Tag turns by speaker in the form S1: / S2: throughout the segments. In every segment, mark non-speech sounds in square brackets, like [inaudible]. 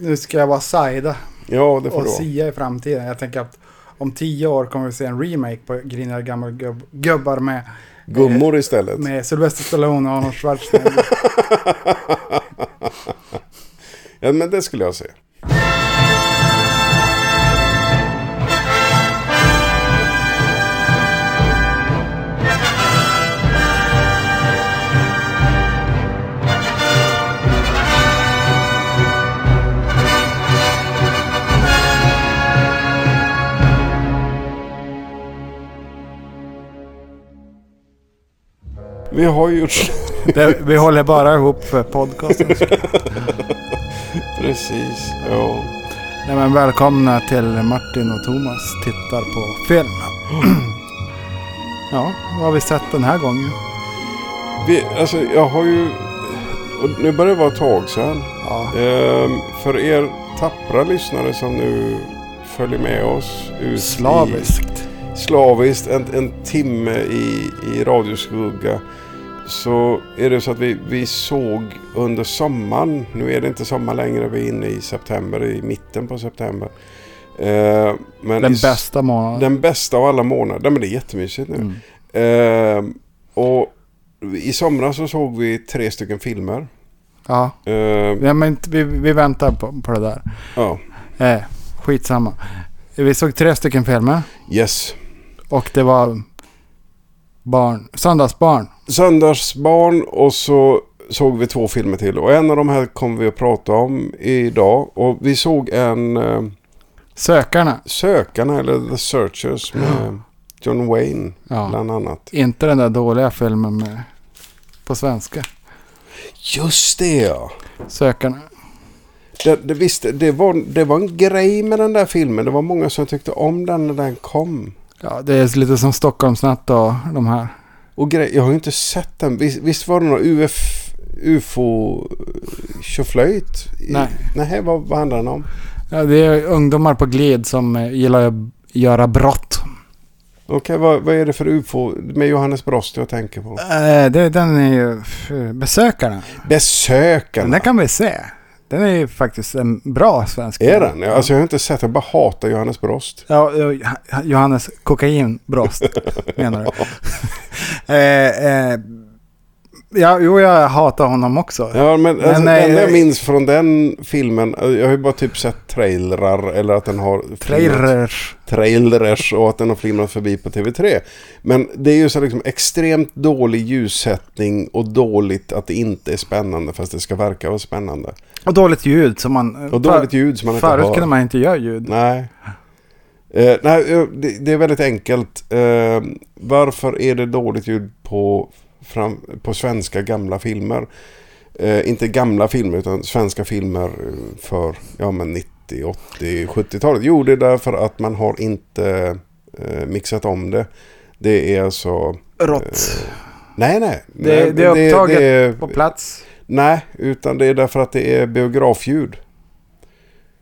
S1: nu ska jag vara sajda
S2: Ja, det får
S1: och
S2: du vara.
S1: sia i framtiden. Jag tänker att om tio år kommer vi se en remake på Griniga gamla gubb, gubbar med,
S2: Gummor istället.
S1: med Sylvester Stallone och Arnold Schwarzenegger.
S2: Ja, men det skulle jag säga. Vi har ju gjort...
S1: [laughs] Det, vi håller bara ihop för podcasten.
S2: [laughs] Precis, ja.
S1: Nej, men välkomna till Martin och Thomas tittar på film. [clears throat] ja, vad har vi sett den här gången?
S2: Vi, alltså, jag har ju... Och nu börjar det vara ett tag sedan.
S1: Ja,
S2: Ehm, för er tappra lyssnare som nu följer med oss ut
S1: slaviskt.
S2: I, slaviskt en, en timme i, i radioskugga. Så är det så att vi, vi såg under sommaren, nu är det inte sommar längre, vi är inne i september, i mitten på september. Ehm, men
S1: Den
S2: i s-
S1: bästa månaden.
S2: Den bästa av alla månader, men det är jättemysigt nu.
S1: Mm.
S2: Ehm, och i somras så såg vi tre stycken filmer.
S1: Ja,
S2: Ehm,
S1: ja, men vi, vi väntar på, på det där.
S2: ja.
S1: Eh, skitsamma. Vi såg tre stycken filmer
S2: Yes.
S1: och det var barn, söndagsbarn.
S2: Söndagsbarn och så såg vi två filmer till. Och en av de här kommer vi att prata om idag. Och vi såg en eh,
S1: Sökarna.
S2: Sökarna eller The Searchers med John Wayne
S1: Ja.
S2: bland annat.
S1: Inte den där dåliga filmen med, på svenska.
S2: Just det ja.
S1: Sökarna.
S2: Det, det, visst, det var, det var en grej med den där filmen. Det var många som tyckte om den när den kom.
S1: Ja, det är lite som Stockholmsnatt och de här.
S2: Och grej, jag har ju inte sett den. Visst, visst var det någon UF, UFO tjoflöjt? I-
S1: Nej.
S2: Nej, vad, vad handlar den om?
S1: Ja, det är ungdomar på glid som eh, gillar att göra brott.
S2: Okej, vad, vad är det för UFO med Johannes Brost jag tänker på?
S1: Eh, det, den är ju f- Besökarna. Den
S2: Besökarna!
S1: där kan vi se. Den är ju faktiskt en bra svensk
S2: Är
S1: film.
S2: den? Ja, Alltså jag har inte sett den, jag bara hatar Johannes Brost.
S1: Ja, eh, Johannes kokainbrost menar
S2: [laughs]
S1: du? eh, eh, ja, jo, jag hatar honom också.
S2: Ja, men alltså,
S1: Men,
S2: det enda jag
S1: eh,
S2: minns från den filmen, jag har ju bara typ sett trailrar eller att den har...
S1: Trailers.
S2: trailers och att den har flimrat förbi på TV3. Men det är ju så liksom extremt dålig ljussättning och dåligt att det inte är spännande fast det ska verka vara spännande.
S1: Och dåligt ljud som man... eh,
S2: Och dåligt ljud som man inte
S1: Förut
S2: hör.
S1: kunde man inte göra ljud.
S2: Nej. Eh, nej, eh, det, det är väldigt enkelt. Eh, varför är det dåligt ljud på, fram, på svenska gamla filmer? Eh, inte gamla filmer utan svenska filmer eh, för ja, men 90, 80, 70-talet. Jo, det är därför att man har inte eh, mixat om det. Det är alltså...
S1: Rått.
S2: Nej, nej.
S1: Eh, Det-
S2: nej,
S1: det är upptaget
S2: är-
S1: På plats.
S2: Nej, utan det är därför att det är biografljud.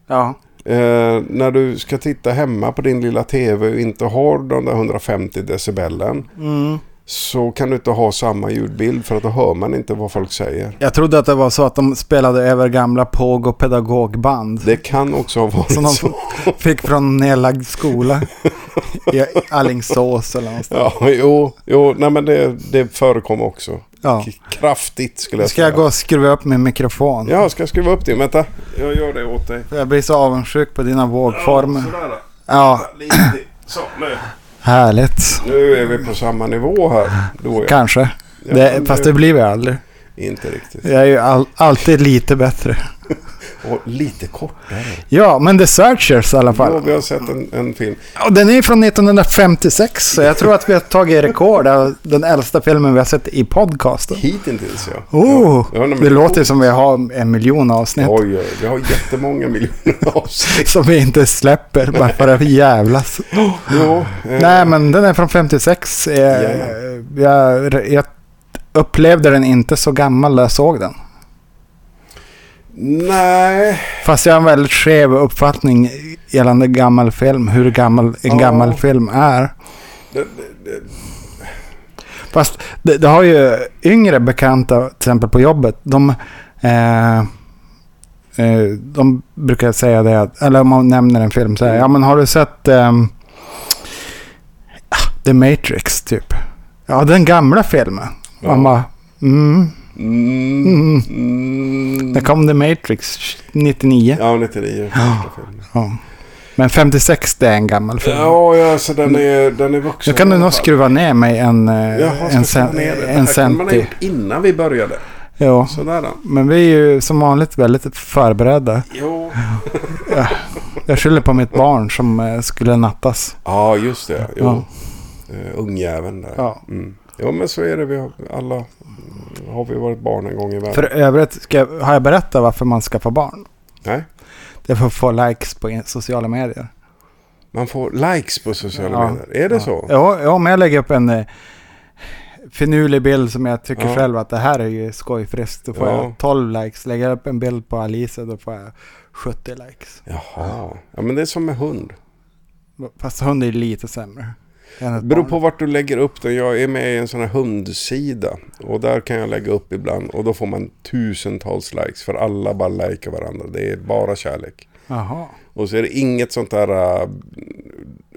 S1: Ja.
S2: Eh, när du ska titta hemma på din lilla TV och inte har de där 150 decibelen
S1: Mm.
S2: så kan du inte ha samma ljudbild för att då hör man inte vad folk säger.
S1: Jag trodde att det var så att de spelade över gamla påg och pedagogband.
S2: Det kan också ha varit
S1: Som de-
S2: så.
S1: [laughs]
S2: [laughs]
S1: Fick från nedlagd skola i Alingsås eller någonstans.
S2: Ja, jo, jo nej, men det, det förekom också.
S1: Ja.
S2: K- Kraftigt skulle
S1: Nu
S2: jag
S1: ska jag gå och skruva upp min mikrofon.
S2: Ja, ska jag skruva upp din? Vänta, jag gör det åt dig.
S1: Jag blir så avundsjuk på dina vågformer.
S2: Ja, sådär.
S1: Ja,
S2: Lite. Så, nu.
S1: härligt.
S2: nu är vi på samma nivå här. Du och jag.
S1: Kanske.
S2: Ja,
S1: det,
S2: men
S1: fast det blir vi aldrig.
S2: Inte riktigt.
S1: Jag är ju all, alltid lite bättre.
S2: Och lite kortare.
S1: Ja, men The Searchers i alla
S2: Jo,
S1: fall.
S2: vi har sett en, en film.
S1: Och den är från 1956, så jag tror att vi har tagit rekord av den äldsta filmen vi har sett i podcasten.
S2: Hittills ja.
S1: Oh,
S2: ja, nej, men-
S1: det låter som vi har en miljon avsnitt
S2: Oj, oj, vi har jättemånga [laughs] miljoner avsnitt.
S1: som vi inte släpper bara för att jävlas.
S2: Ja, eh,
S1: Nej, men den är från 56. Eh, jag, jag upplevde den inte så gammal när jag såg den.
S2: nej.
S1: Fast jag har en väldigt skev uppfattning gällande gammal film, hur gammal en
S2: Ja.
S1: gammal film är.
S2: Det- det- det-
S1: Fast det, det har ju yngre bekanta, till exempel på jobbet, de eh, eh, de brukar säga det, att- eller om man nämner en film så här, ja men har du sett ehm, ah, The Matrix typ? Ja, den gamla filmen. Man bara, mm,
S2: Mm. Mm.
S1: när kom The Matrix? 99?
S2: Ja, 99. Första filmen.
S1: Ja. Men 56 det är en gammal film.
S2: Ja, ja, så den är, den är vuxen.
S1: Nu kan du
S2: i alla
S1: nog
S2: fall.
S1: skruva ner mig en, eh,
S2: Jaha,
S1: en,
S2: ska jag
S1: cen-
S2: ta ner det? Det
S1: en
S2: här kunde man ha
S1: centi.
S2: gjort innan vi började.
S1: Ja.
S2: Sådär då.
S1: Men vi är ju som vanligt väldigt förberedda.
S2: Jo.
S1: Jag skyller på mitt barn som eh, skulle nattas.
S2: Ja, just det. Jo.
S1: Ja.
S2: Eh, ungjäveln där.
S1: Ja.
S2: Mm. Jo, men så är det. Vi har, alla har vi varit barn en gång i världen.
S1: För övrigt, ska jag, har jag berättat varför man skaffar barn?
S2: Nej.
S1: Det är för att få likes på in- sociala medier.
S2: Man får likes på sociala
S1: Ja.
S2: medier. Är det så?
S1: Ja, ja, men jag lägger upp en eh, finurlig bild som jag tycker
S2: Ja.
S1: själv att det här är ju skojfriskt. Då får
S2: Ja.
S1: jag 12 likes. Lägger jag upp en bild på Alice då får jag 70 likes.
S2: Jaha. Ja, men det är som med hund.
S1: Fast hund är lite sämre. än ett
S2: Det beror
S1: barn.
S2: på vart du lägger upp den. Jag är med i en sån här hundsida. Och där kan jag lägga upp ibland. Och då får man tusentals likes. För alla bara likar varandra. Det är bara kärlek.
S1: Jaha.
S2: Och så är det inget sånt där äh,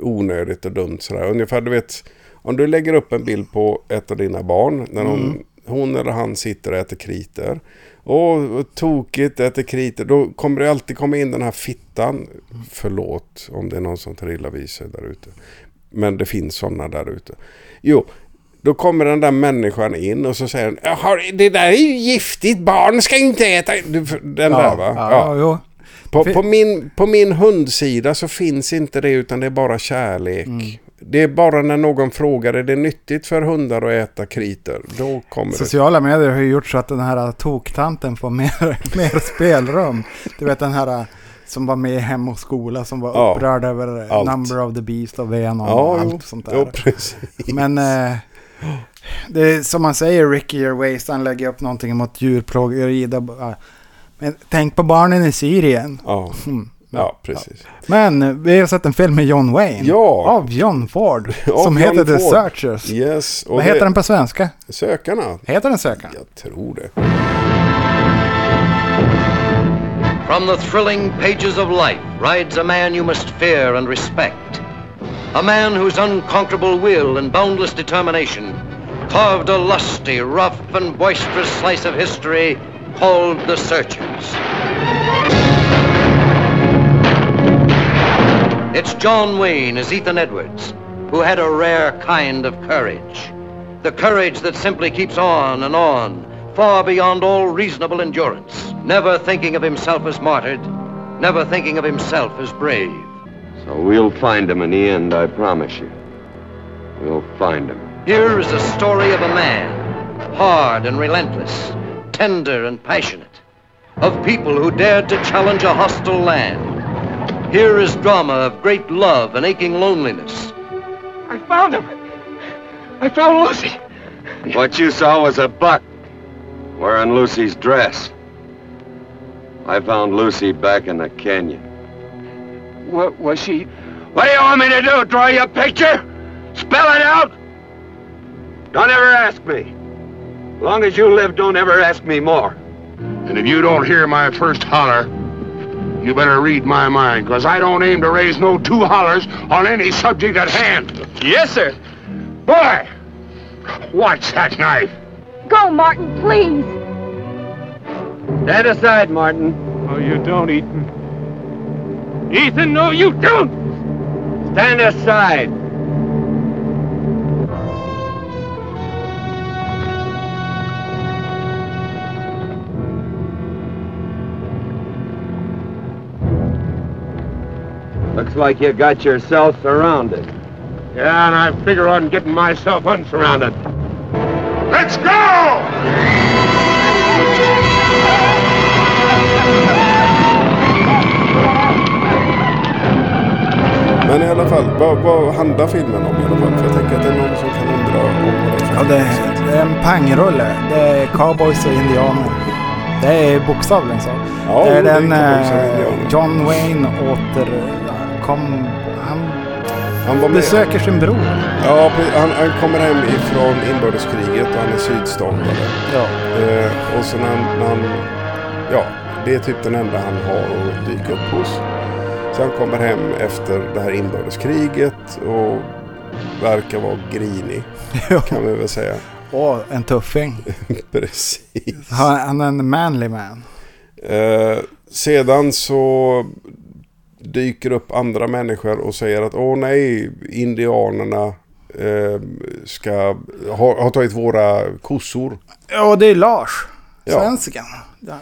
S2: onödigt och dumt sådär. Ungefär du vet, om du lägger upp en bild på ett av dina barn när de,
S1: Mm.
S2: hon eller han sitter och äter kriter. Och vad tokigt, äter kriter. Då kommer det alltid komma in den här fittan. Förlåt om det är någon som tar illa vid sig där ute. Men det finns sådana där ute. Jo, då kommer den där människan in och så säger den "Jag har- Det där är ju giftigt, barn ska inte äta. Du, den där va?
S1: Ja, ja.
S2: Ja.
S1: jo.
S2: På,
S1: Fi-
S2: på, min, på min hundsida så finns inte det utan det är bara kärlek.
S1: Mm.
S2: Det är bara när någon frågar är det nyttigt för hundar att äta kriter. Då kommer det.
S1: Sociala medier har ju gjort så att den här toktanten får mer, [laughs] mer spelrum. Du vet den här eh, som var med i Hem och skola som var
S2: Ja,
S1: upprörd över eh,
S2: allt.
S1: Number of the Beast och Venom och
S2: Ja,
S1: allt
S2: jo,
S1: sånt där.
S2: jo, precis.
S1: Men eh, det är, som man säger, Ricky Gervais, han lägger upp någonting mot djurplågeri. där bara, Men tänk på barnen i Syrien. [laughs]
S2: Ja,
S1: Mm.
S2: ja precis.
S1: Men eh, vi har sett en film med John Wayne.
S2: Ja.
S1: Av John Ford.
S2: [laughs] Av
S1: som
S2: John
S1: heter The
S2: Ford.
S1: Searchers.
S2: Yes, och
S1: Vad heter den på svenska?
S2: det, sökarna?
S1: Heter den Sökaren?
S2: Jag tror det.
S3: From the thrilling pages of life rides a man you must fear and respect. A man whose unconquerable will and boundless determination carved a lusty, rough, and boisterous slice of history called the Searchers. It's John Wayne as Ethan Edwards, who had a rare kind of courage. The courage that simply keeps on and on, far beyond all reasonable endurance. Never thinking of himself as martyred, never thinking of himself as brave.
S4: So we'll find him in the end, I promise you. We'll find him.
S3: Here is the story of a man, hard and relentless, tender and passionate, of people who dared to challenge a hostile land. Here is drama of great love and aching loneliness.
S5: I found him. I found Lucy.
S4: What you saw was a buck wearing Lucy's dress. I found Lucy back in the canyon.
S5: What was she?
S4: What do you want me to do? Draw you a picture? Spell it out? Don't ever ask me. Long as you live, don't ever ask me more.
S6: And if you don't hear my first holler, you better read my mind, 'cause I don't aim to raise no two hollers on any subject at hand.
S4: Yes, sir.
S6: Boy, watch that knife.
S5: Go, Martin, please.
S4: Stand aside, Martin.
S5: Oh, you don't, Ethan. Ethan, no, you don't.
S4: Stand aside. Looks like you got yourself surrounded.
S6: Yeah, and I figure on getting myself unsurrounded. Let's go!
S2: Men i alla fall, vad, vad handlar filmen om i alla fall? För jag tänker att det är någon som kan undra om vad det är.
S1: Ja, det, det är en pangrulle. Det är cowboys och indianer. Det är bokstavligen så.
S2: Ja,
S1: det är
S2: jo, det är
S1: den
S2: cowboys och
S1: eh,
S2: indianer.
S1: John Wayne åter... eh, Kom, han
S2: Han var med.
S1: besöker sin bror.
S2: Ja, pre- han, han kommer hem ifrån inbördeskriget och han är sydstatare.
S1: Ja.
S2: Eh, och så när han, när han ja, Det är typ den enda han har att dyka upp hos. Så han kommer hem efter det här inbördeskriget och verkar vara grinig
S1: [laughs] Ja.
S2: kan vi väl säga. [laughs]
S1: Åh, en tuffing.
S2: Precis.
S1: Han han är en manly man.
S2: Eh, sedan så dyker upp andra människor och säger att åh nej, indianerna eh, ska, har, har tagit våra kossor.
S1: Ja, det är Lars.
S2: Ja.
S1: Svensken.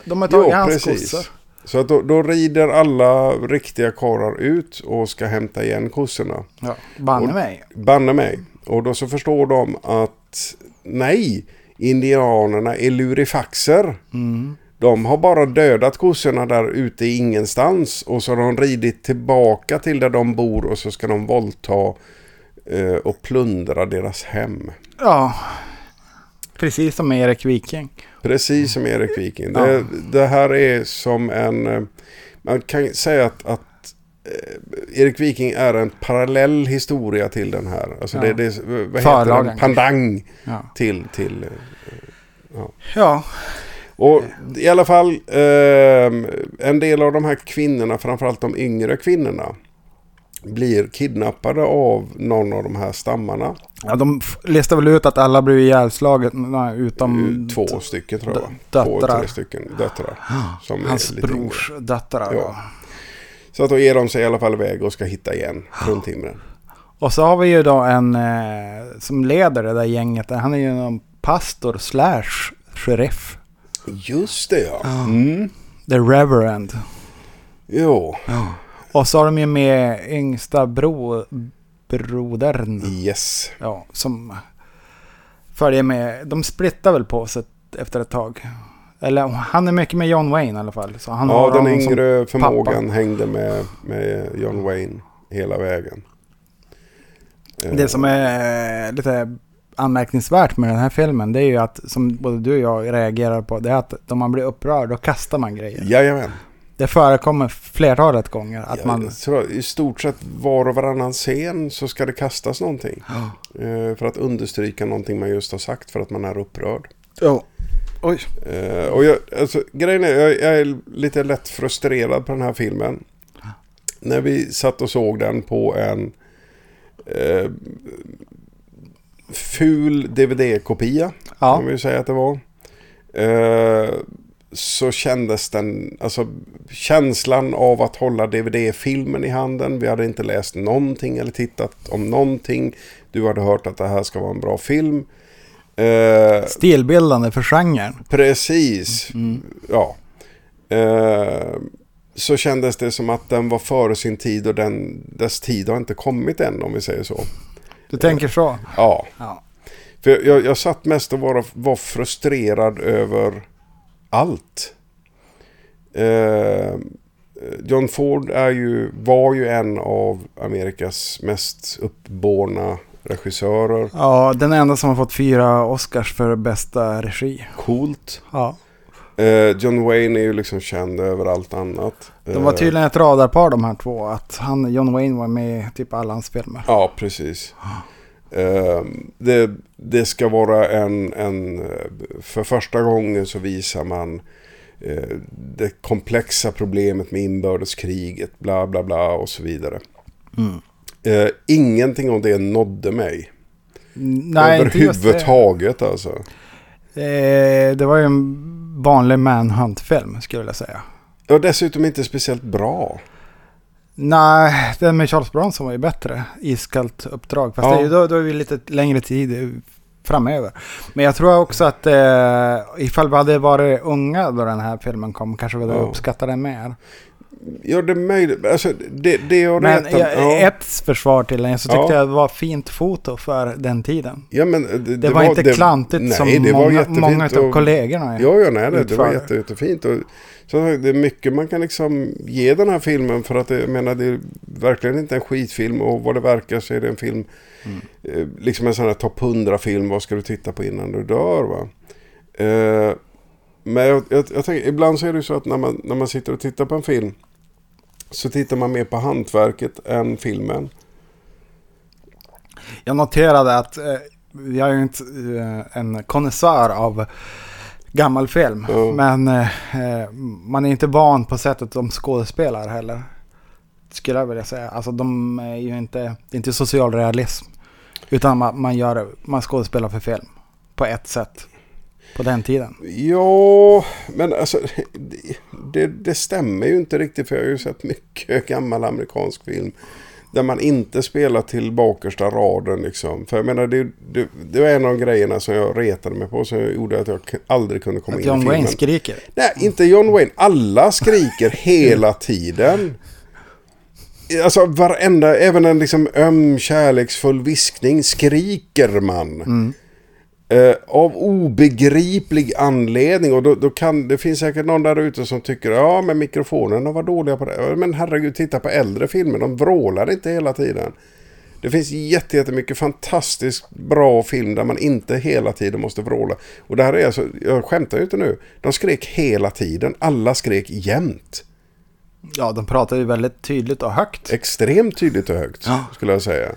S1: De har tagit hans kossor.
S2: Så att då, då rider alla riktiga karlar ut och ska hämta igen kossorna.
S1: Ja, banne
S2: Och-
S1: mig.
S2: Banne mig. Och då så förstår de att nej, indianerna är lurifaxer.
S1: Mm.
S2: De har bara dödat kossorna där ute i ingenstans och så har de ridit tillbaka till där de bor och så ska de våldta eh, och plundra deras hem.
S1: Ja, precis som Erik Viking.
S2: Precis
S1: Mm.
S2: som Erik Viking. Det, det här är som en... eh, Man kan säga att, att eh, Erik Viking är en parallell historia till den här. Alltså det, det, är- vad heter
S1: Förlagen,
S2: den? Pandang
S1: Ja.
S2: till... till eh,
S1: Ja,
S2: och i alla fall, eh, en del av de här kvinnorna, framförallt de yngre kvinnorna, blir kidnappade av någon av de här stammarna.
S1: ja de f- listar väl ut att alla blev ihjälslagna utom
S2: Eh, Två stycken tror jag.
S1: d-
S2: va? Två,
S1: döttrar.
S2: tre stycken
S1: [gasps]
S2: döttrar. Som är
S1: hans
S2: lite yngre.
S1: brors döttrar.
S2: Ja.
S1: då.
S2: Så att då ger de sig i alla fall iväg och ska hitta igen
S1: Ah.
S2: fruntimren.
S1: Och så har vi ju då en eh, som leder det där gänget. Han är ju någon pastor slash sheriff.
S2: Just det ja.
S1: Ah.
S2: Mm.
S1: The Reverend.
S2: Jo,
S1: Och så har de ju med yngsta bro, brodern.
S2: Mm. yes.
S1: Ja, som följer med. De splittar väl på sig efter ett tag. Eller han är mycket med John Wayne i alla fall. Så han har
S2: Ja, den
S1: honom som
S2: yngre
S1: pappa.
S2: förmågan hängde med, med John Wayne hela vägen. Eh,
S1: Det som är eh, lite anmärkningsvärt med den här filmen det är ju att, som både du och jag reagerar på, det är att om man blir upprörd då kastar man grejer.
S2: Jajamän.
S1: Det förekommer flertalet gånger att
S2: Jag
S1: man...
S2: tror, I stort sett var och varannan scen så ska det kastas någonting. Eh, För att understryka någonting man just har sagt för att man är upprörd.
S1: Ja. Oj.
S2: Eh, och jag, alltså, grejen är, jag, jag är lite lätt frustrerad på den här filmen. När vi satt och såg den på en eh, ful DVD-kopia,
S1: Ja.
S2: kan vi ju säga att det var. Eh, så kändes den, alltså känslan av att hålla DVD-filmen i handen. Vi hade inte läst någonting eller tittat om någonting. Du hade hört att det här ska vara en bra film. Eh,
S1: Stilbildande för genren.
S2: Precis.
S1: Mm.
S2: Ja. Eh, så kändes det som att den var före sin tid och den, dess tid har inte kommit än om vi säger så.
S1: Du tänker så?
S2: Ja.
S1: Ja.
S2: För jag, jag, jag satt mest och var, var frustrerad över allt. Eh, John Ford är ju, var ju en av Amerikas mest uppborna regissörer.
S1: Ja, den enda som har fått fyra Oscars för bästa regi.
S2: Coolt.
S1: Ja.
S2: Eh, John Wayne är ju liksom känd över allt annat.
S1: De var
S2: Eh,
S1: tydligen ett radarpar de här två. Att han, John Wayne var med i typ alla hans filmer.
S2: Ja, precis. Ehm, det, det ska vara en, en... eh, För första gången så visar man eh, det komplexa problemet med inbördeskriget, bla bla bla och så vidare.
S1: Mm.
S2: Eh, ingenting av det nådde mig.
S1: Nej, inte just det.
S2: Överhuvudtaget alltså.
S1: Eh, det var ju en vanlig manhunt-film skulle jag säga.
S2: Och dessutom inte speciellt bra.
S1: Nej, den med Charles Bronson var ju bättre. Iskallt uppdrag. Fast
S2: Ja.
S1: det är ju då, då är vi lite längre tid framöver. Men jag tror också att eh, ifall vi hade varit unga då den här filmen kom kanske vi hade
S2: Ja.
S1: uppskattat den mer.
S2: Gör det möjligt. Alltså, det, det jag
S1: Men
S2: retar-
S1: jag,
S2: ja.
S1: ett försvar till den, så tyckte
S2: Ja.
S1: jag det var fint foto för den tiden.
S2: Ja, men eh, det, det
S1: Det, var, inte
S2: det-
S1: klantigt
S2: nej,
S1: som
S2: det var
S1: många,
S2: jättefint
S1: många av
S2: och-
S1: kollegorna.
S2: Ja, ja nej, det, det var
S1: utförare.
S2: jätte, jättefint. Och, så det är mycket man kan liksom ge den här filmen för att det, jag menar, det är verkligen inte en skitfilm och vad det verkar så är det en film, eh, liksom en sån här topp 100-film, vad ska du titta på innan du dör va? Eh, men jag, jag, jag tänker, ibland så är det ju så att när man, när man sitter och tittar på en film så tittar man mer på hantverket än filmen.
S1: Jag noterade att eh, jag är ju inte eh, en konnässör av gammal film.
S2: Ja.
S1: Men eh, eh, man är inte van på sättet de skådespelar heller. Skulle jag vilja säga. Alltså de är ju inte, det är inte social realism. Utan man, man, gör, man skådespelar för film. På ett sätt. På den tiden.
S2: Ja, men alltså det, det, det stämmer ju inte riktigt för jag har ju sett mycket gammal amerikansk film där man inte spelar till bakersta raden liksom. För jag menar det, det, det var en av grejerna som jag retade mig på som gjorde att jag k- aldrig kunde komma
S1: Att
S2: in i
S1: John
S2: filmen.
S1: Wayne skriker.
S2: Nej, inte John Wayne. Alla skriker hela tiden. Alltså varenda, även en liksom öm kärleksfull viskning skriker man. Eh, av obegriplig anledning. Och då, då kan, det finns säkert någon där ute som tycker ja men mikrofonerna var dåliga på det. Ja, Men herregud, titta på äldre filmer. De vrålar inte hela tiden. Det finns jätte- jättemycket fantastiskt bra film där man inte hela tiden måste vråla. Och det här är alltså, jag skämtar ju inte nu. De skrek hela tiden. Alla skrek jämt.
S1: Ja, de pratar ju väldigt tydligt och högt.
S2: Extremt tydligt och högt
S1: Ja.
S2: skulle jag säga.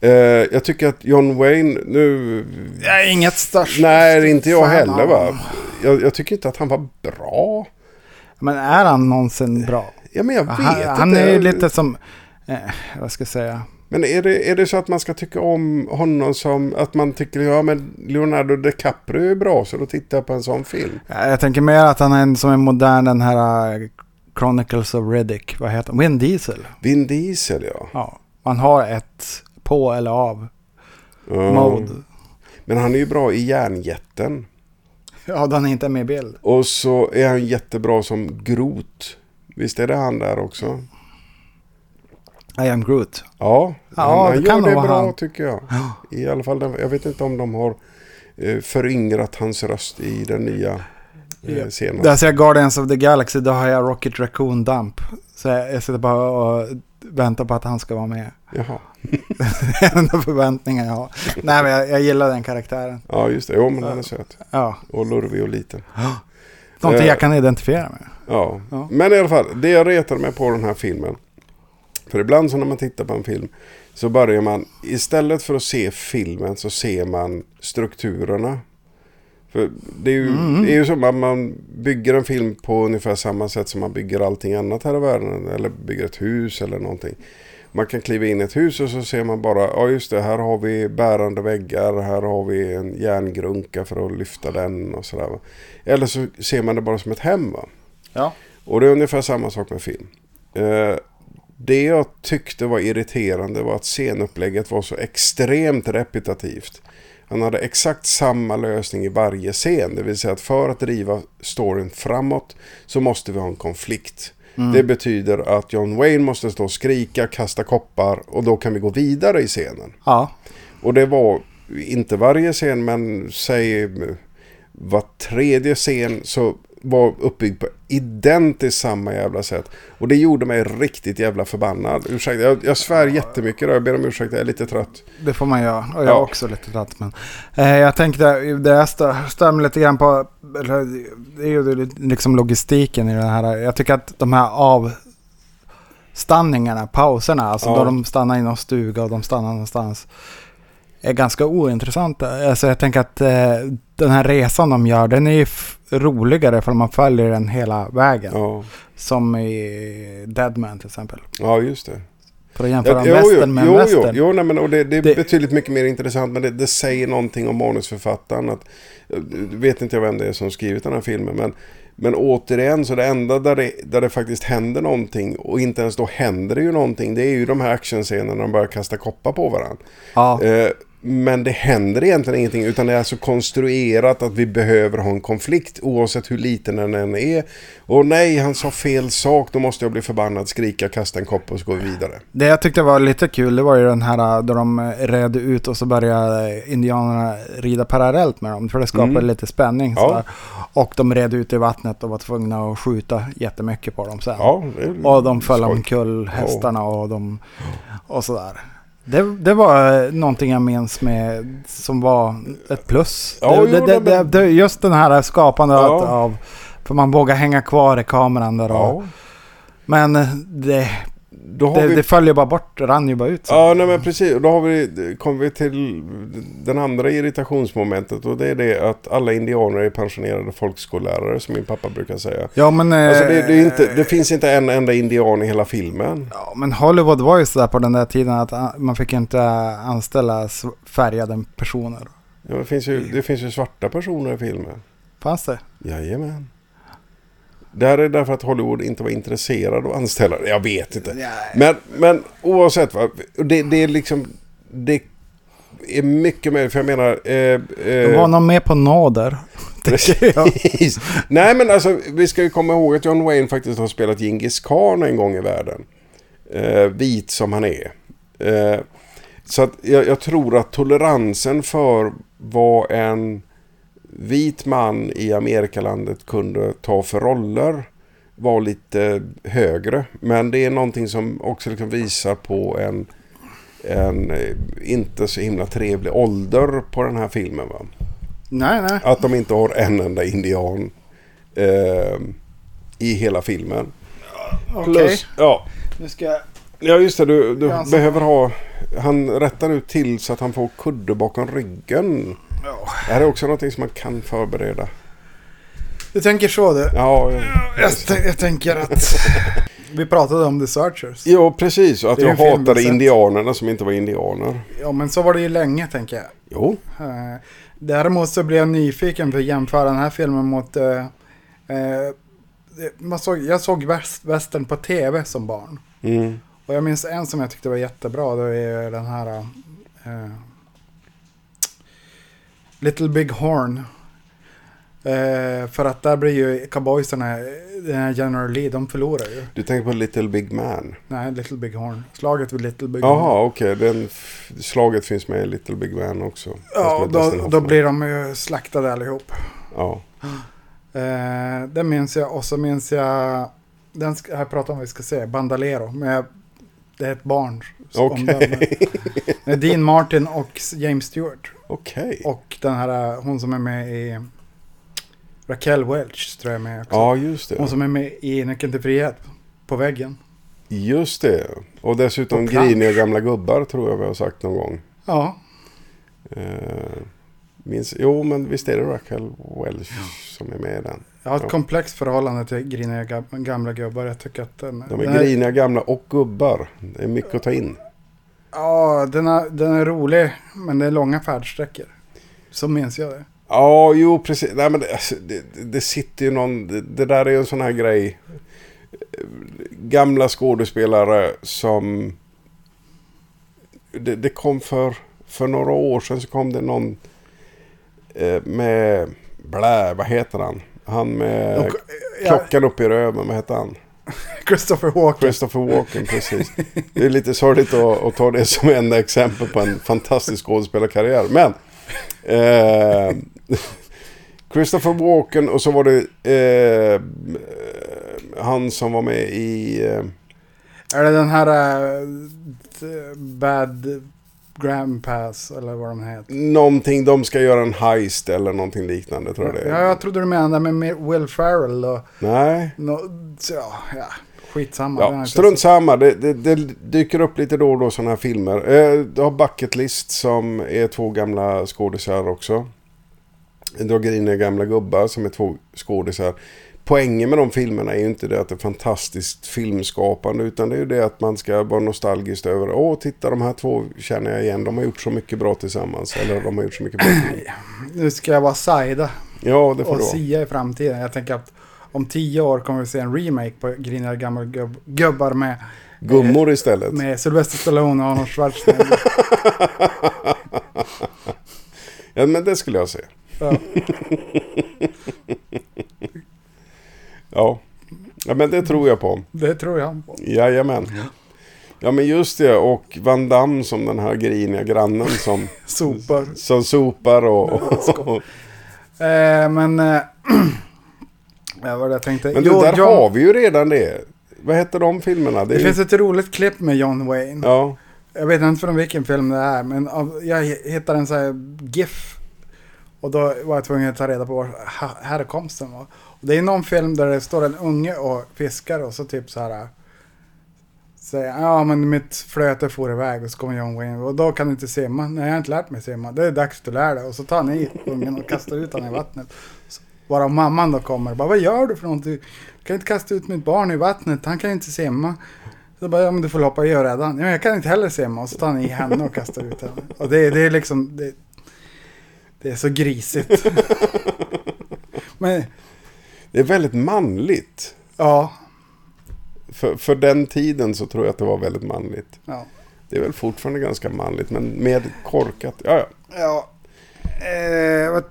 S2: Eh, jag tycker att John Wayne, nu...
S1: Ja, inget störst.
S2: Nej, inte jag
S1: fan
S2: heller
S1: av
S2: va.
S1: honom.
S2: Jag, jag tycker inte att han var bra.
S1: Men är han någonsin bra?
S2: Ja, men jag vet
S1: han,
S2: inte.
S1: han är ju lite som, eh, vad ska jag säga?
S2: Men är det, är det så att man ska tycka om honom som... Att man tycker ja men Leonardo DiCaprio är bra så då tittar jag på en sån film.
S1: Ja, Jag tänker mer att han är en som är modern den här eh, Chronicles of Riddick. Vad heter han? Vin Diesel.
S2: Vin Diesel ja.
S1: Ja. Man har ett på eller av
S2: Ja.
S1: mode.
S2: Men han är ju bra i Järnjätten.
S1: Ja, den är inte med i bild.
S2: Och så är han jättebra som Groot. Visst är det han där också?
S1: I am Groot.
S2: Ja,
S1: Ja,
S2: han, han
S1: det kan
S2: gör det
S1: nog
S2: bra
S1: vara han.
S2: tycker jag. I alla fall, den- jag vet inte om de har eh, föryngrat hans röst i den nya eh, scenen.
S1: Där ser jag Guardians of the Galaxy, då har jag Rocket Raccoon Dump. Så jag, jag sitter bara och väntar på att han ska vara med. [laughs]
S2: Jaha.
S1: Det är den enda förväntningen jag har. Nej, men jag, jag gillar den karaktären.
S2: Ja, just det. Jo, men han är söt.
S1: Ja,
S2: Och lurvig och liten.
S1: någonting
S2: Eh.
S1: jag kan identifiera mig med.
S2: Ja.
S1: Ja.
S2: Men i alla fall, det jag retar mig på den här filmen. För ibland så när man tittar på en film så börjar man, istället för att se filmen så ser man strukturerna. För det är ju, det är ju som att man bygger en film på ungefär samma sätt som man bygger allting annat här i världen. Eller bygger ett hus eller någonting. Man kan kliva in i ett hus och så ser man bara, ja just det, här har vi bärande väggar, här har vi en järngrunka för att lyfta den och sådär. va. Eller så ser man det bara som ett hem. Va?
S1: Ja.
S2: Och det är ungefär samma sak med film. Eh, det jag tyckte var irriterande var att scenupplägget var så extremt repetitivt. Han hade exakt samma lösning i varje scen. Det vill säga att för att driva storyn framåt så måste vi ha en konflikt. Det betyder att John Wayne måste stå och skrika, kasta koppar och då kan vi gå vidare i scenen.
S1: Ja,
S2: Och det var inte varje scen men säg eh, var tredje scen så var uppbyggd på identiskt samma jävla sätt. Och det gjorde mig riktigt jävla förbannad. Ursäkta, jag, jag svär jättemycket där. Jag ber om ursäkt, jag är lite trött.
S1: Det får man göra. Och jag
S2: Ja.
S1: är också lite trött. Men, eh, jag tänkte, det jag stö- stör mig lite grann på, eller, det är ju li- liksom logistiken i den här. Jag tycker att de här avstanningarna, pauserna, alltså
S2: Ja.
S1: då de stannar i någon stuga och de stannar någonstans, är ganska ointressanta. Alltså jag tänker att eh, den här resan de gör, den är ju f- roligare för man följer den hela vägen.
S2: Ja,
S1: Som i Deadman till exempel.
S2: ja just det.
S1: För att jämföra en
S2: jo, jo,
S1: western med en
S2: jo, jo,
S1: western.
S2: jo, nej, men, och det, det är
S1: Det-
S2: betydligt mycket mer intressant, men det, det säger någonting om manusförfattaren. Att, eh, vet inte jag vem det är som skrivit den här filmen, men, men återigen, så det enda där det, där det faktiskt händer någonting, och inte ens då händer det ju någonting, det är ju de här actionscenerna när de börjar kasta koppar på varandra.
S1: Ja.
S2: Eh, Men det händer egentligen ingenting utan det är alltså konstruerat att vi behöver ha en konflikt oavsett hur liten den än är. Och nej, han sa fel sak, då måste jag bli förbannad, skrika, kasta en kopp och så går vi vidare.
S1: Det jag tyckte var lite kul det var ju den här eh, då de eh, redde ut och så började eh, indianerna rida parallellt med dem. För det skapade lite spänning.
S2: Mm. Ja.
S1: sådär. Och de red ut i vattnet och var tvungna att skjuta jättemycket på dem sen.
S2: Ja, det är
S1: Och de föll
S2: skoj.
S1: omkull hästarna och, de, och sådär. Det, det var eh, någonting jag minns med som var ett plus.
S2: Ja,
S1: det,
S2: jo,
S1: det,
S2: nej,
S1: det,
S2: men-
S1: det, just den här äh, skapandet
S2: Ja.
S1: av... För man vågar hänga kvar i kameran där. Och,
S2: Ja.
S1: Men eh, äh, det,
S2: då har
S1: Det,
S2: vi...
S1: det följer bara bort, rann ju bara ut. Så.
S2: Ja, nej men precis. Och Då har vi, kommer vi till den andra irritationsmomentet och det är det att alla indianer är pensionerade folkskollärare som min pappa brukar säga.
S1: Ja men, eh,
S2: Alltså det, det, är inte, det finns inte en enda indian i hela filmen.
S1: ja, men Hollywood var ju sådär på den där tiden att ah, man fick inte anställa s- färgade personer.
S2: Ja, det, finns ju, det finns ju svarta personer i filmen.
S1: Fanns det?
S2: Jajamän. Det här är därför att Hollywood inte var intresserad av anställare. Jag vet inte. Men, men oavsett, va, det, det är liksom... Det är mycket mer, för jag menar... Eh,
S1: Det
S2: eh,
S1: var någon med på nåder. [laughs] tänker jag.
S2: Precis. Nej men alltså vi ska ju komma ihåg att John Wayne faktiskt har spelat Genghis Khan en gång i världen. Eh, vit som han är. Eh, så att jag, jag tror att toleransen för vad en vit man i Amerikalandet kunde ta för roller var lite högre. Men det är någonting som också liksom visar på en, en eh, inte så himla trevlig ålder på den här filmen. Va?
S1: Nej, nej.
S2: Att de inte har en enda indian eh, i hela filmen.
S1: Okej.
S2: ja.
S1: Nu ska jag...
S2: ja, just det. Du, du
S1: Ja, så-
S2: behöver ha... Han rättar nu till så att han får kudde bakom ryggen. Det här är också någonting som man kan förbereda.
S1: Du tänker så du?
S2: Ja,
S1: Jag, t- jag tänker att... [laughs] Vi pratade om The Searchers.
S2: ja precis. Och Att
S1: Det är
S2: jag
S1: en film jag
S2: hatade
S1: sett.
S2: indianerna som inte var indianer.
S1: Ja, men så var det ju länge tänker jag.
S2: Jo,
S1: Eh, Däremot så blev jag nyfiken för att jämföra den här filmen mot... Eh, eh, det- man såg, jag såg väst, västern på tv som barn.
S2: Mm.
S1: Och jag minns en som jag tyckte var jättebra. Det är ju den här... eh, Little Big Horn. Eh, för att där blir ju cowboysarna, den här General Lee, de förlorar ju.
S2: du tänker på Little Big Man.
S1: Nej, Little Big Horn. Slaget vid Little Big Horn.
S2: Jaha, okej. Den f- Slaget finns med i Little Big Man också. Fast
S1: Ja,
S2: med Dustin
S1: då, då
S2: Hoffman.
S1: blir de ju slaktade allihop.
S2: Ja.
S1: Eh, det minns jag och så minns jag, den ska, här pratar om vi ska se, Bandalero. Men jag, det är ett barn.
S2: Okej.
S1: Okay. Dean Martin och s- James Stewart.
S2: Okej.
S1: Och den här, eh, hon som är med i Raquel Welch tror jag är med också.
S2: Ja, just det.
S1: Hon som är med i Nyckeln till frihet på väggen.
S2: Just det. Och dessutom
S1: Och plansch.
S2: griniga gamla gubbar tror jag vi har sagt någon gång.
S1: Ja,
S2: Eh, minns, jo, men visst är det Raquel Welch som är med i den.
S1: jag har ett
S2: Ja.
S1: komplext förhållande till griniga gam- gamla gubbar. Jag tycker att den...
S2: De
S1: den
S2: är griniga gamla och gubbar. Det är mycket att ta in.
S1: Ja, den är, den är rolig, men det är långa färdsträckor. Så minns jag det. [laughs]
S2: Ja, jo, precis. Nej, men det, alltså, det, det- det sitter ju någon... Det, det där är ju en sån här grej. Eh, Gamla skådespelare som... Det, det kom för, för några år sedan så kom det någon eh, med... Blä, vad heter han? Han med
S1: Och, eh, ja,
S2: klockan upp i röven, vad heter han?
S1: Christopher Walken.
S2: Christopher Walken, precis. Det är lite sorgligt att, att ta det som enda exempel på en fantastisk skådespelarkarriär. Men... Eh, Christopher Walken och så var det eh, han som var med i... Eh,
S1: Är det den här eh, d- Bad Grandpass eller vad de heter?
S2: någonting, de ska göra en heist eller någonting liknande tror jag det är.
S1: Ja, jag trodde du menade med med Will Ferrell och
S2: Nej.
S1: no, så, ja, ja, skitsamma. Den har
S2: Ja,
S1: jag
S2: strunt
S1: inte
S2: samma. Det, det, det dyker upp lite då och då sådana här filmer. Eh, du har Bucket List som är två gamla skådisar också. Du har Griniga gamla gubbar som är två skådisar. Poängen med de filmerna är ju inte det att det är fantastiskt filmskapande utan det är ju det att man ska vara nostalgisk över åh titta de här två känner jag igen, de har gjort så mycket bra tillsammans eller de har gjort så mycket bra tillsammans.
S1: sett. Nu ska jag vara Saida
S2: Ja, det får
S1: och
S2: du vara.
S1: Sia i framtiden. Jag tänker att om tio år kommer vi se en remake på Griniga gamla gubb, gubbar med,
S2: Gummor istället.
S1: med Sylvester Stallone och Arnold
S2: [laughs]
S1: Schwarzenegger.
S2: Ja, men det skulle jag se.
S1: Ja.
S2: Ja. ja, men det tror jag på.
S1: Det tror jag på.
S2: Jajamän. Ja men just det och Van Damme som den här griniga
S1: [laughs]
S2: grannen som,
S1: Sopor.
S2: som sopar och, och, och...
S1: Eh, men... Eh, [clears throat] vad var det jag tänkte?
S2: Men du,
S1: Jo,
S2: där
S1: John-
S2: har vi ju redan det. Vad heter de filmerna? Det
S1: Det
S2: är
S1: finns
S2: ju...
S1: ett roligt klipp med John Wayne.
S2: Ja,
S1: Jag vet inte från vilken film det är, men av, jag hittade en sån här GIF. Och då var jag tvungen att ta reda på var ha- härkomsten var. Och det är någon film där det står en unge och fiskar och så typ så här. säga äh, ja men mitt flöte for iväg och så kommer John Wayne och då kan du inte simma. Nej jag har inte lärt mig simma. Det är dags du lär dig. Och så tar han i ungen och kastar ut honom i vattnet. Så, varav mamman då kommer och bara vad gör du för något? Du kan inte kasta ut mitt barn i vattnet. Han kan inte simma. Så bara, ja men du får hoppa i och rädda honom. Ja, men jag kan inte heller simma. Och så tar han i henne och kastar ut henne. Och det, det är liksom, det, det är så [laughs] grisigt. men
S2: Det är väldigt manligt.
S1: ja,
S2: För, för den tiden så tror jag att det var väldigt manligt.
S1: ja.
S2: Det är väl fortfarande ganska manligt, men med korkat. Ja, ja.
S1: Ja. Eh, vad-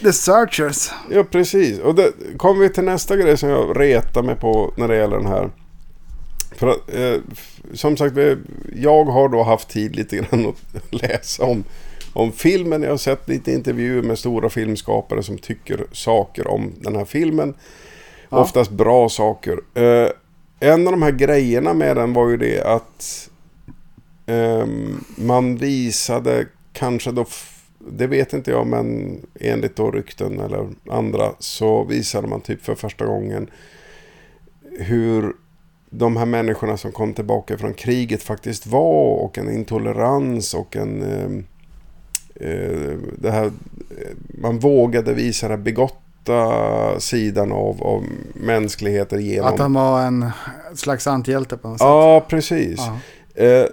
S1: The Searchers.
S2: ja precis. Och det kommer vi till nästa grej som jag retar mig på när det gäller den här. För att, eh, f- som sagt, vi- jag har då haft tid lite grann att [laughs] läsa om, om filmen. Jag har sett lite intervjuer med stora filmskapare som tycker saker om den här filmen. Oftast bra saker. Eh, en av de här grejerna med den var ju det att ehm, man visade kanske då, f- det vet inte jag, men enligt då rykten eller andra så visade man typ för första gången hur de här människorna som kom tillbaka från kriget faktiskt var och en intolerans och en... ehm, eh, det här, eh, man vågade visa den här begotta sidan av, av mänskligheten genom...
S1: Att han var en slags antihjälte på något sätt.
S2: Ja, precis.
S1: Ja.
S2: Eh,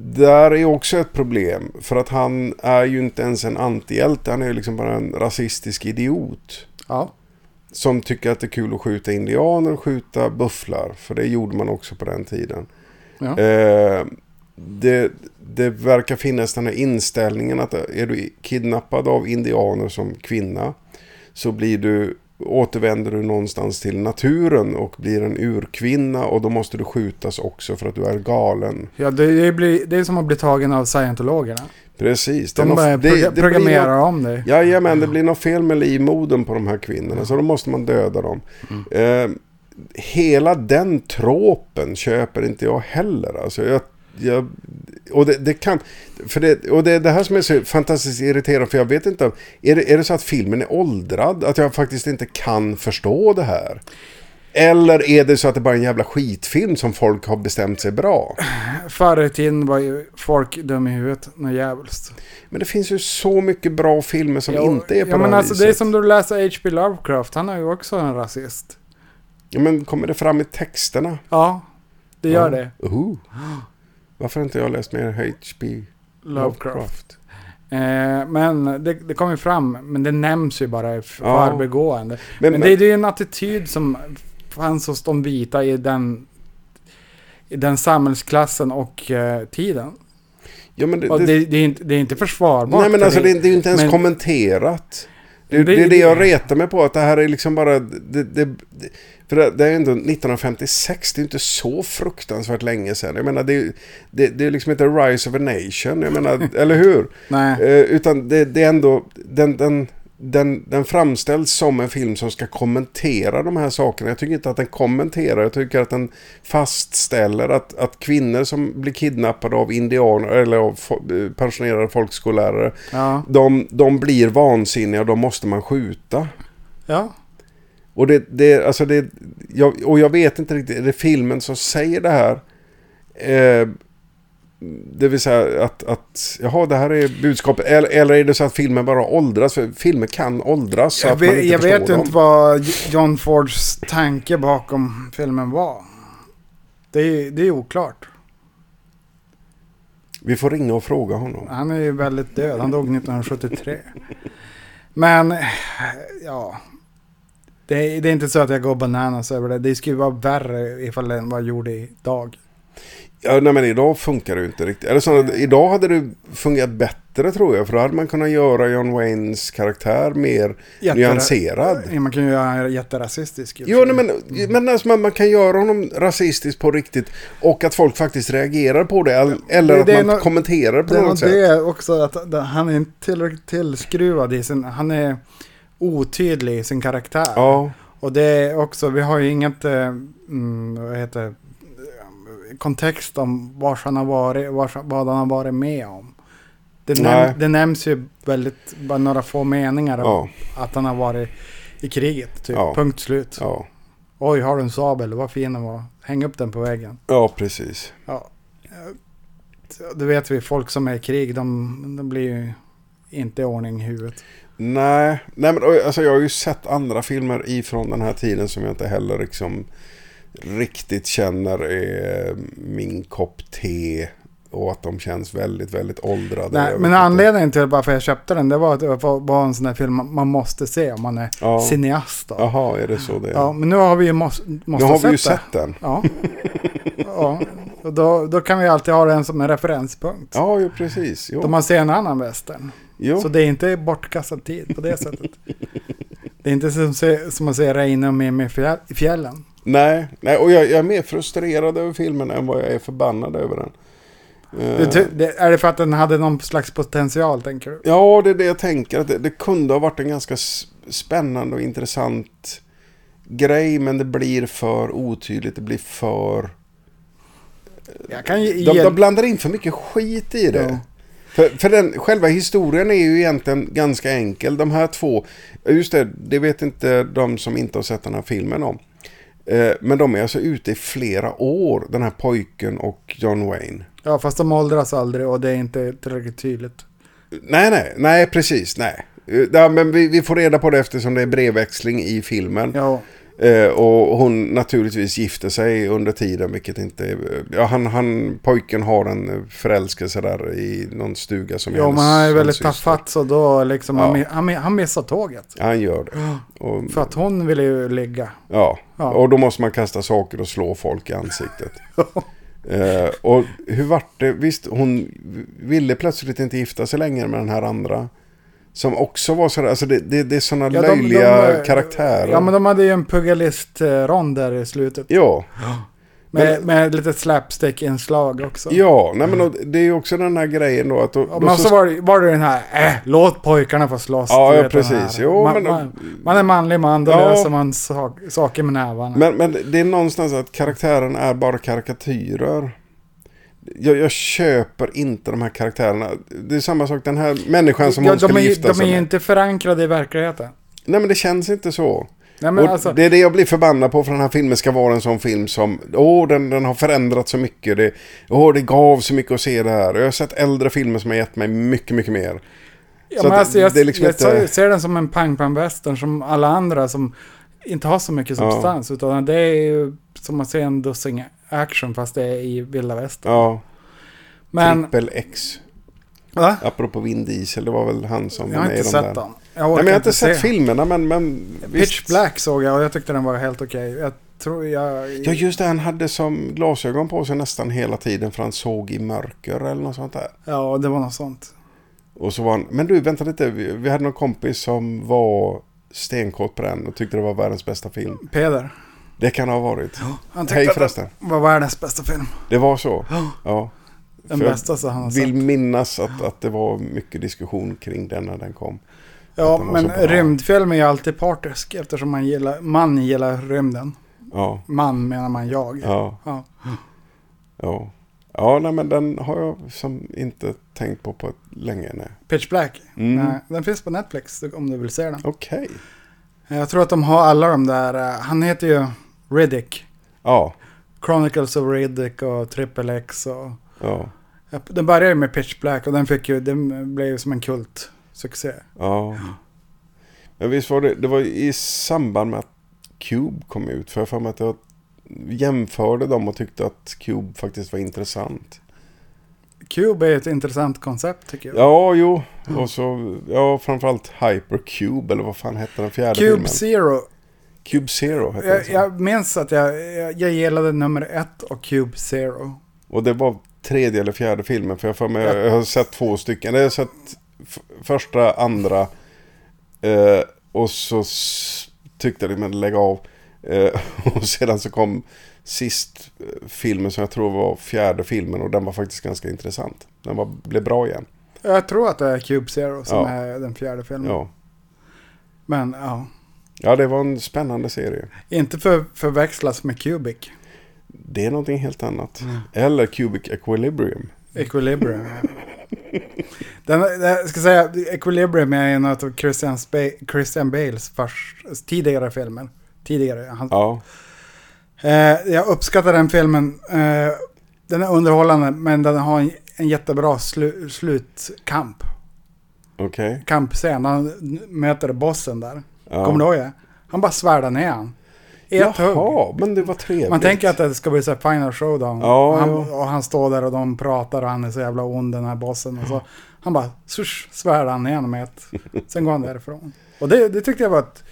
S2: där är också ett problem. För att han är ju inte ens en antihjälte. Han är ju liksom bara en rasistisk idiot.
S1: Ja.
S2: Som tycker att det är kul att skjuta indianer och skjuta bufflar. För det gjorde man också på den tiden.
S1: Ja.
S2: Eh, det, det verkar finnas den här inställningen att är du kidnappad av indianer som kvinna så blir du, återvänder du någonstans till naturen och blir en urkvinna och då måste du skjutas också för att du är galen.
S1: ja det, det, blir, det är som att bli tagen av scientologerna.
S2: Precis.
S1: De
S2: är något-
S1: bara proga-
S2: blir
S1: programmerar
S2: något-
S1: om dig.
S2: Jajamän, det blir något fel med livmodern på de här
S1: Mm.
S2: kvinnorna så då måste man döda dem. Eh, hela den tråpen köper inte jag heller. Alltså, jag, jag, och det, det kan... För det, och det är det här som är så fantastiskt irriterande för jag vet inte... Är det, är det så att filmen är åldrad? Att jag faktiskt inte kan förstå det här? Eller är det så att det bara är en jävla skitfilm som folk har bestämt sig bra?
S1: Förr i tiden var ju folk dum i huvudet något djävulskt.
S2: Men det finns ju så mycket bra filmer som
S1: Ja,
S2: inte är på
S1: ja,
S2: det
S1: men
S2: här
S1: alltså
S2: viset.
S1: Det är som du läser H.P. Lovecraft. Han är ju också en rasist.
S2: Ja, men kommer det fram i texterna?
S1: Ja, det gör
S2: Ja.
S1: det.
S2: Uhu. Varför har inte jag läst mer H.P.
S1: Lovecraft. Eh, men det, det kommer ju fram, men det nämns ju bara i f-
S2: Ja.
S1: förbigående.
S2: Men-
S1: Men, det, det är ju en attityd som fanns hos de vita i den, i den samhällsklassen och eh, tiden.
S2: Ja, men det,
S1: Och
S2: det,
S1: det, det, är, inte, det är inte försvarbart.
S2: nej, men
S1: för
S2: alltså det, är- det är ju inte ens
S1: men-
S2: kommenterat. Det,
S1: Men
S2: det,
S1: det-
S2: är det jag retar mig på, att det här är liksom bara... Det, det, det, för det, det är ju ändå 1956, det är ju inte så fruktansvärt länge sedan. Jag menar, det, är ju- det, det är liksom inte Rise of a Nation, jag menar, [laughs] eller hur?
S1: Nej.
S2: Eh, utan det, det är ändå, den, den, den, den framställs som en film som ska kommentera de här sakerna. Jag tycker inte att den kommenterar, jag tycker att den fastställer att, att kvinnor som blir kidnappade av indianer eller av fo- eh, pensionerade folkskollärare,
S1: Ja.
S2: de, de blir vansinniga och de måste man skjuta.
S1: Ja.
S2: Och det, det, alltså det, jag, och jag vet inte riktigt, är det filmen som säger det här? Eh, det vill säga att, att, jaha, det här är budskapet. Eller, eller är det så att filmen bara åldras? För filmer kan åldras så
S1: Jag,
S2: att man inte
S1: vet, jag
S2: förstår
S1: vet ju
S2: dem.
S1: inte vad John Fords tanke bakom filmen var. Det är, det är oklart.
S2: Vi får ringa och fråga honom.
S1: Han är ju väldigt död. Han dog 1973. Men, ja. Det är, det är inte så att jag går bananas över det. Det skulle vara värre ifall den var gjord idag.
S2: Ja, nej men idag funkar det ju inte riktigt. Eller så, idag hade det fungerat bättre tror jag. För då hade man kunnat göra John Waynes karaktär mer
S1: Jättera-
S2: nyanserad.
S1: Ja, Man kan ju göra en jätterasistisk. i och
S2: Jo,
S1: för
S2: nej,
S1: sig.
S2: men, men alltså, man, man kan göra honom rasistisk på riktigt och att folk faktiskt reagerar på det. all- Eller
S1: Det-
S2: att
S1: det är
S2: man
S1: nå-
S2: kommenterar på
S1: Det var
S2: något sätt.
S1: det också, att det- han är inte tillräckligt tillskruvad i sin... Han är otydlig i sin karaktär.
S2: Ja,
S1: Och det är också, vi har ju inget, eh, mm, vad heter det, eh, kontext om vars han har varit, vars, vad han har varit med om. Det,
S2: Nej.
S1: näm, det nämns ju väldigt, bara några få meningar om
S2: ja,
S1: att han har varit i kriget, typ.
S2: Ja.
S1: Punkt slut.
S2: ja.
S1: Oj, har du en sabel? Vad fin den var. Häng upp den på väggen.
S2: Ja, precis.
S1: Ja. Du vet vi, folk som är i krig, de, de blir ju inte i ordning i huvudet.
S2: Nej, nej men oj, alltså jag har ju sett andra filmer ifrån den här tiden som jag inte heller liksom riktigt känner är min kopp te. Och att de känns väldigt, väldigt åldrade. Jag
S1: Nej,
S2: vet
S1: men
S2: inte.
S1: anledningen till varför jag köpte den, det var att det var- var en sån där film man- man måste se om man är
S2: Ja.
S1: cineast. Då. Ja.
S2: Jaha, är det så det är?
S1: men nu har vi ju måste,
S2: nu
S1: måste
S2: har vi
S1: sett
S2: ju
S1: det.
S2: sett den. [laughs]
S1: Ja. ja. Och då, då kan vi alltid ha den som en referenspunkt.
S2: Ja, jo, precis. Jo.
S1: Då man ser en annan western.
S2: jo.
S1: Så det är inte bortkastad tid på det sättet. det är inte som, se- som att se Reine och Mimmi i fjäll- i fjällen.
S2: Nej, nej, och jag, jag är mer frustrerad över filmen än vad jag är förbannad över den. Eh,
S1: Du ty- det, är det för att den hade någon slags potential, tänker du?
S2: Ja, det är det jag tänker. Att det, det kunde ha varit en ganska s- spännande och intressant grej, men det blir för otydligt. Det blir för...
S1: Jag kan ge...
S2: De, de blandar in för mycket skit i det.
S1: Ja.
S2: För, för den, själva historien är ju egentligen ganska enkel. De här två, just det, det vet inte de som inte har sett den här filmen om. Eh, Men de är alltså ute i flera år, den här pojken och John Wayne.
S1: Ja, fast de åldras aldrig och det är inte tillräckligt tydligt.
S2: Nej, nej, nej, precis, nej. Eh, Ja, men vi, vi får reda på det eftersom det är brevväxling i filmen.
S1: Ja,
S2: Eh, och hon naturligtvis gifter sig under tiden, vilket inte... är- Ja, han, han, pojken har en eh, förälskelse där i någon stuga som är
S1: ja
S2: hennes-
S1: men han är
S2: hans
S1: väldigt
S2: syster.
S1: tafatt så då liksom
S2: Ja.
S1: han, mi- han, mi- han missar tåget.
S2: Han gör det. Och,
S1: För att hon ville ju ligga.
S2: ja.
S1: Ja.
S2: och då måste man kasta saker och slå folk
S1: [laughs]
S2: i ansiktet. eh, och hur vart det? Visst, hon ville plötsligt inte gifta sig längre med den här andra. Som också var sådär, alltså det, det, det är sådana
S1: Ja, de-
S2: löjliga
S1: de, eh,
S2: karaktärer.
S1: Ja, men de hade ju en pugilistrond där i slutet.
S2: ja.
S1: Med, med lite slapstick-inslag också.
S2: Ja, nej men och det är ju också den här grejen då att... Då,
S1: Ja,
S2: då
S1: Men så var det, var det den här, äh, låt pojkarna få slåss.
S2: Ja,
S1: du
S2: ja,
S1: vet, den
S2: precis.
S1: här.
S2: Jo,
S1: man,
S2: men-
S1: man, man är manlig man, då
S2: Ja.
S1: löser man sak, saker med nävarna.
S2: men, men det är någonstans att karaktären är bara karikatyrer. Jag, jag köper inte de här karaktärerna. Det är samma sak, den här människan som
S1: ja,
S2: hon
S1: de,
S2: skulle
S1: är, ju-
S2: gifta
S1: de är
S2: sig
S1: ju
S2: med.
S1: inte förankrade i verkligheten.
S2: Nej men det känns inte så.
S1: Nej, men
S2: och
S1: alltså,
S2: Det är det jag blir förbannad på för den här filmen ska vara en sån film som, åh den, den har förändrats så mycket. Det, åh det gav så mycket att se det här. Jag har sett äldre filmer som har gett mig mycket, mycket mer.
S1: Ja,
S2: Så
S1: men
S2: att
S1: alltså, jag,
S2: det är liksom
S1: jag
S2: inte-
S1: ser- ser den som en pang-pang-western som alla andra som inte har så mycket
S2: Ja.
S1: substans. Utan det är ju som att se en dussin action fast det är i vilda västern.
S2: Ja, typ.
S1: Men,
S2: Triple X.
S1: va?
S2: Apropå Vin Diesel, det var väl han som
S1: Jag har
S2: var med
S1: inte
S2: i de
S1: sett
S2: där.
S1: den.
S2: Nej,
S1: orkar
S2: men jag har inte sett
S1: se.
S2: filmerna men... men
S1: Pitch Black såg jag och jag tyckte den var helt okej. Jag tror jag...
S2: Ja just det, han hade som glasögon på sig nästan hela tiden för han såg i mörker eller något sånt där.
S1: Ja, det var något sånt.
S2: Och så var han, men du vänta lite, vi, vi hade någon kompis som var stenkåt på den och tyckte det var världens bästa film.
S1: Peder.
S2: Det kan ha varit.
S1: Han tyckte
S2: Hej
S1: att
S2: förresten.
S1: det var världens bästa
S2: [gasps]
S1: film.
S2: Det var så? Ja.
S1: Den
S2: För jag
S1: bästa så han har
S2: Vill
S1: sett.
S2: minnas att, att det var mycket diskussion kring den när den kom.
S1: Ja,
S2: den var så
S1: men
S2: bra.
S1: rymdfilm är ju alltid partisk eftersom man gillar, man gillar rymden.
S2: Ja,
S1: Man menar man jag.
S2: ja,
S1: Ja.
S2: ja. Ja, nej men den har jag som inte tänkt på på länge. Nej.
S1: Pitch Black.
S2: Mm.
S1: Nej, den finns på Netflix om du vill se den.
S2: Okej.
S1: Jag tror att de har alla de där. eh, Han heter ju Riddick.
S2: Ja,
S1: Chronicles of Riddick och Triple X. Och,
S2: ja,
S1: Ja, den började ju med Pitch Black och den, fick ju, den blev ju som en kult succé.
S2: ja. Men visst var det, det var i samband med att Cube kom ut. För jag har för mig att jag jämförde dem och tyckte att Cube faktiskt var intressant.
S1: Cube är ett intressant koncept tycker jag.
S2: Ja, jo. Och så, ja, framförallt Hypercube eller vad fan hette den fjärde
S1: Cube
S2: filmen?
S1: Zero.
S2: Cube Zero hette den.
S1: Jag,
S2: så.
S1: jag minns att jag, jag, jag gillade nummer ett och Cube Zero.
S2: Och det var tredje eller fjärde filmen. För jag, har för mig, jag har sett två stycken. Jag har sett f- första, andra. Eh, och så s- tyckte jag men lägg av. Eh, [laughs] och sedan så kom sist eh, filmen som jag tror var fjärde filmen. Och den var faktiskt ganska intressant. Den var, blev bra igen.
S1: Jag tror att det är Cube Zero som
S2: Ja.
S1: är den fjärde filmen.
S2: Ja.
S1: Men ja,
S2: ja, det var en spännande serie.
S1: inte för, förväxlas med Cubic.
S2: Det är någonting helt annat.
S1: Mm.
S2: Eller Cubic Equilibrium.
S1: Equilibrium. den, jag ska säga, Equilibrium är en av Christian, Spa- Christian Bales först, tidigare filmer. Tidigare. Han,
S2: Ja,
S1: Eh, jag uppskattar den filmen. Eh, den är underhållande men den har en, en jättebra slu, slutkamp.
S2: Okej.
S1: Kampscen. Han möter bossen där.
S2: Ja.
S1: Kommer du ihåg det? Han bara svärdar ner han. I ett hugg.
S2: Jaha, men det var trevligt.
S1: Man tänker att det ska bli så här final showdown.
S2: Ja,
S1: och, han,
S2: ja.
S1: och han står där och de pratar och han är så jävla ond den här bossen. Och så, han bara swoosh, svärdar han ner honom med ett.
S2: [laughs]
S1: Sen går han därifrån. Och det, det tyckte jag var ett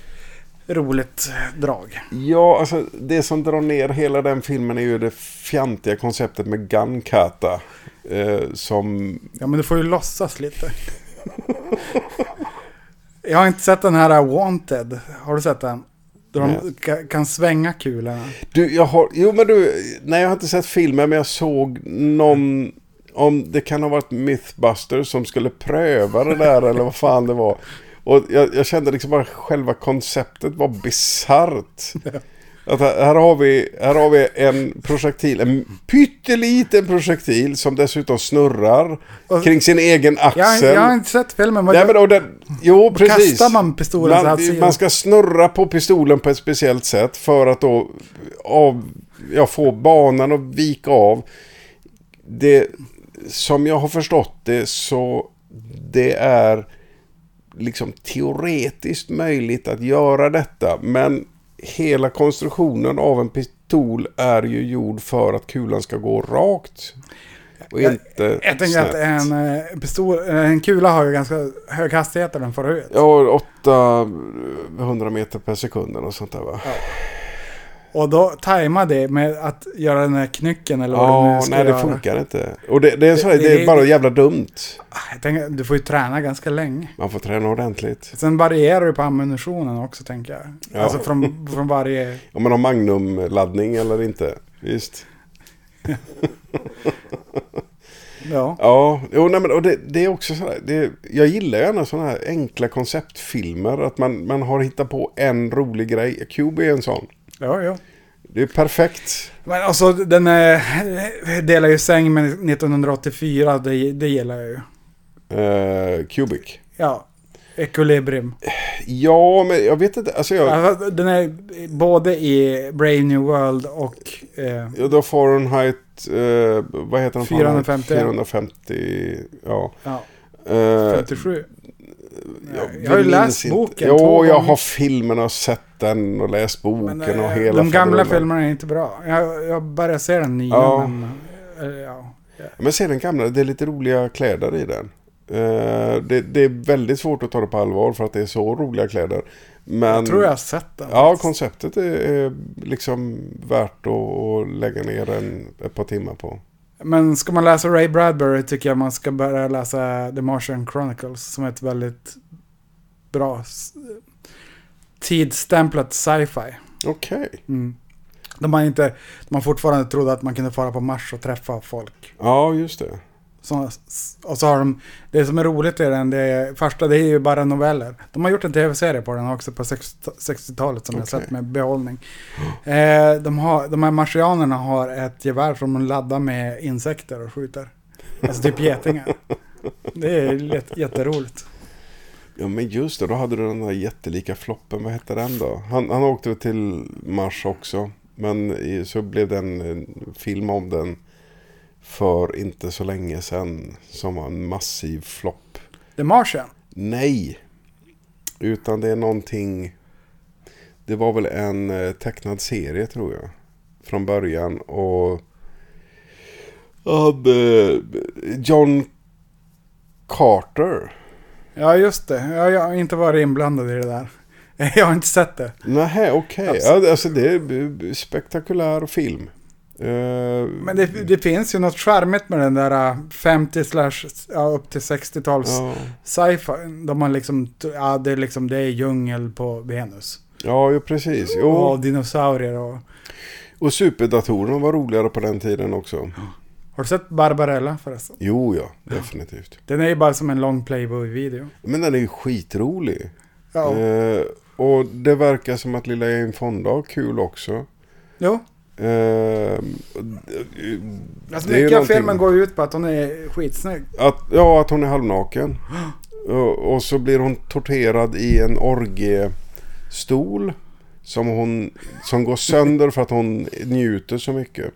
S1: roligt drag.
S2: Ja, alltså det som drar ner hela den filmen är ju det fjantiga konceptet med Gun Kata. Eh, som...
S1: Ja men du får ju låtsas lite. [laughs] jag har inte sett den här Wanted. Har du sett den? Där de
S2: Nej.
S1: ka- kan svänga kulorna.
S2: Du, jag har... Jo, men du... Nej, jag har inte sett filmen, men jag såg någon... Om det kan ha varit Mythbusters som skulle pröva det där eller vad fan det var. Och jag, jag kände liksom bara själva konceptet var bisarrt. Att här, här, har vi, här har vi en projektil, en pytteliten projektil som dessutom snurrar
S1: Och-
S2: kring sin egen
S1: Jag,
S2: axel.
S1: jag har inte sett filmen. men
S2: Nej, men och den, jo, precis.
S1: kastar man pistolen så att
S2: man,
S1: säga.
S2: man ska snurra på pistolen på ett speciellt sätt för att då av, ja, få banan att vika av. Det, som jag har förstått det så det är liksom teoretiskt möjligt att göra detta. Men hela konstruktionen av en pistol är ju gjord för att kulan ska gå rakt. Och
S1: Jag-
S2: inte
S1: Jag tänker att
S2: snett.
S1: en, eh, pistol, eh, en kula har ju ganska hög hastighet när den får ut.
S2: Ja, 800 meter per sekund eller sånt där va?
S1: Och då tajma det med att göra den här knycken eller vad du
S2: Ja,
S1: nu ska
S2: nej det
S1: göra.
S2: funkar inte. Och det, det, är, så, det,
S1: det-
S2: är bara jävla dumt.
S1: Ah, Jag tänker, du får ju träna ganska länge.
S2: Man får träna ordentligt.
S1: Sen varierar du på ammunitionen också tänker jag.
S2: Ja.
S1: Alltså från, från varje...
S2: Om man har magnumladdning eller inte. Visst.
S1: Ja.
S2: Ja, jo, nej, men, och det, det är också sådär. Det, jag gillar gärna sådana här enkla konceptfilmer. Att man, man har hittat på en rolig grej. Cube är en sån.
S1: ja, ja.
S2: Det är perfekt.
S1: Men alltså den eh, delar ju säng med 1984, det, det gillar jag ju.
S2: Uh, Cubic.
S1: Ja, Equilibrium.
S2: Ja, men jag vet inte. Alltså jag...
S1: Alltså, den är både i Brave New World och... Eh,
S2: Ja, då Fahrenheit, eh, vad heter den?
S1: 450.
S2: 450, ja.
S1: ja,
S2: Eh,
S1: 57.
S2: jag
S1: jag har ju
S2: minns
S1: läst boken
S2: Jo,
S1: två
S2: jag
S1: gånger.
S2: har filmen och sett den och läst boken
S1: Men,
S2: och
S1: eh,
S2: hela
S1: de gamla
S2: faderullan.
S1: filmerna är inte bra. Jag, jag börjar se den nya,
S2: Ja.
S1: men... eh, Ja.
S2: Men se den gamla, det är lite roliga kläder i den. Eh, det, det är väldigt svårt att ta det på allvar för att det är så roliga kläder. Men,
S1: Jag tror jag har sett den.
S2: Ja, konceptet är, är liksom värt att, att lägga ner en, ett par timmar på.
S1: Men ska man läsa Ray Bradbury tycker jag man ska börja läsa The Martian Chronicles som är ett väldigt bra s- tidsstämplat sci-fi.
S2: Okej.
S1: Mm. Där man, inte, där man fortfarande trodde att man kunde fara på Mars och träffa folk.
S2: Ja, just det.
S1: Så, och så har de, det som är roligt i den, det är, första det är ju bara noveller. De har gjort en tv-serie på den också på 60 60-talet som jag
S2: Okej.
S1: sett med behållning. Eh, de, har, de här marsianerna har ett gevär som de laddar med insekter och skjuter. Alltså typ getingar. Det är jätte- jätteroligt.
S2: Ja men just det, då hade du den där jättelika floppen, vad hette den då? Han, han åkte väl till Mars också, men i- så blev det en en film om den för inte så länge sedan som var en massiv flopp.
S1: The Martian.
S2: Nej, utan det är någonting, det var väl en eh, tecknad serie tror jag, från början och Ab, eh, John Carter.
S1: Ja just det, jag, jag har inte varit inblandad i det där. [laughs] Jag har inte sett det.
S2: Nähä, okej. Ja, alltså det är b- b- spektakulär film. Eh,
S1: Men det, det finns ju något charmigt med den där äh, 50 slash ja, upp till 60-tals
S2: ja,
S1: sci-fi. De har liksom, ja det är liksom, det är djungel på Venus.
S2: ja, ju precis. Jo.
S1: Och dinosaurier och...
S2: Och superdatorerna var roligare på den tiden också.
S1: Har du sett Barbarella förresten?
S2: Jo, ja, definitivt.
S1: Den är ju bara som en lång Playboy-video.
S2: Men den är ju skitrolig.
S1: Ja,
S2: Eh, och det verkar som att lilla Jane Fonda har kul också.
S1: jo.
S2: Eh,
S1: Alltså
S2: det är ju
S1: mycket av filmen
S2: någonting-
S1: går ju ut på att hon är skitsnygg.
S2: Att, ja, att hon är halvnaken. Och, och så blir hon torterad i en orgiestol. Som, hon, som går sönder för att hon njuter så mycket.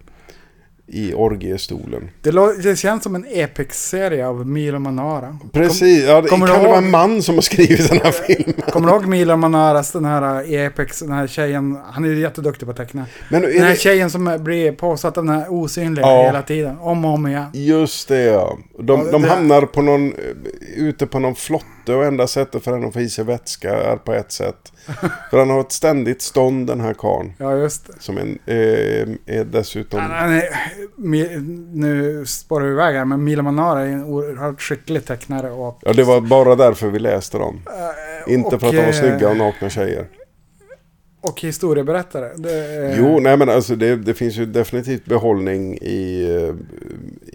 S2: I orgiestolen.
S1: Det, lå- det känns som en epic-serie av Milo Manara.
S2: Precis, ja, det kan
S1: kommer du
S2: det vara
S1: ihåg-
S2: en man som har skrivit den här filmen?
S1: Kommer du ihåg Milo Manaras, den här i Apex, den här tjejen, han är ju jätteduktig på att teckna.
S2: Men är
S1: Den här
S2: det,
S1: tjejen som blir påsatt av den här osynliga
S2: Ja.
S1: hela tiden, om och om igen.
S2: just det ja. De,
S1: Ja,
S2: de
S1: det-
S2: hamnar på någon, eh, ute på någon flotte och enda sättet för henne att få i sig vätska är på
S1: [laughs]
S2: ett sätt. För han har ett ständigt stånd den här karln.
S1: Ja, just det.
S2: Som en, eh, är dessutom...
S1: Han, han är, Mi- nu spårar vi iväg här, men Milo Manara är en oerhört skicklig tecknare. Och,
S2: Ja, det var bara därför vi läste dem. Inte
S1: och,
S2: för att de var
S1: eh,
S2: snygga och nakna tjejer.
S1: och historieberättare. Det, är-
S2: Jo, nej men alltså det, det finns ju definitivt behållning i, eh,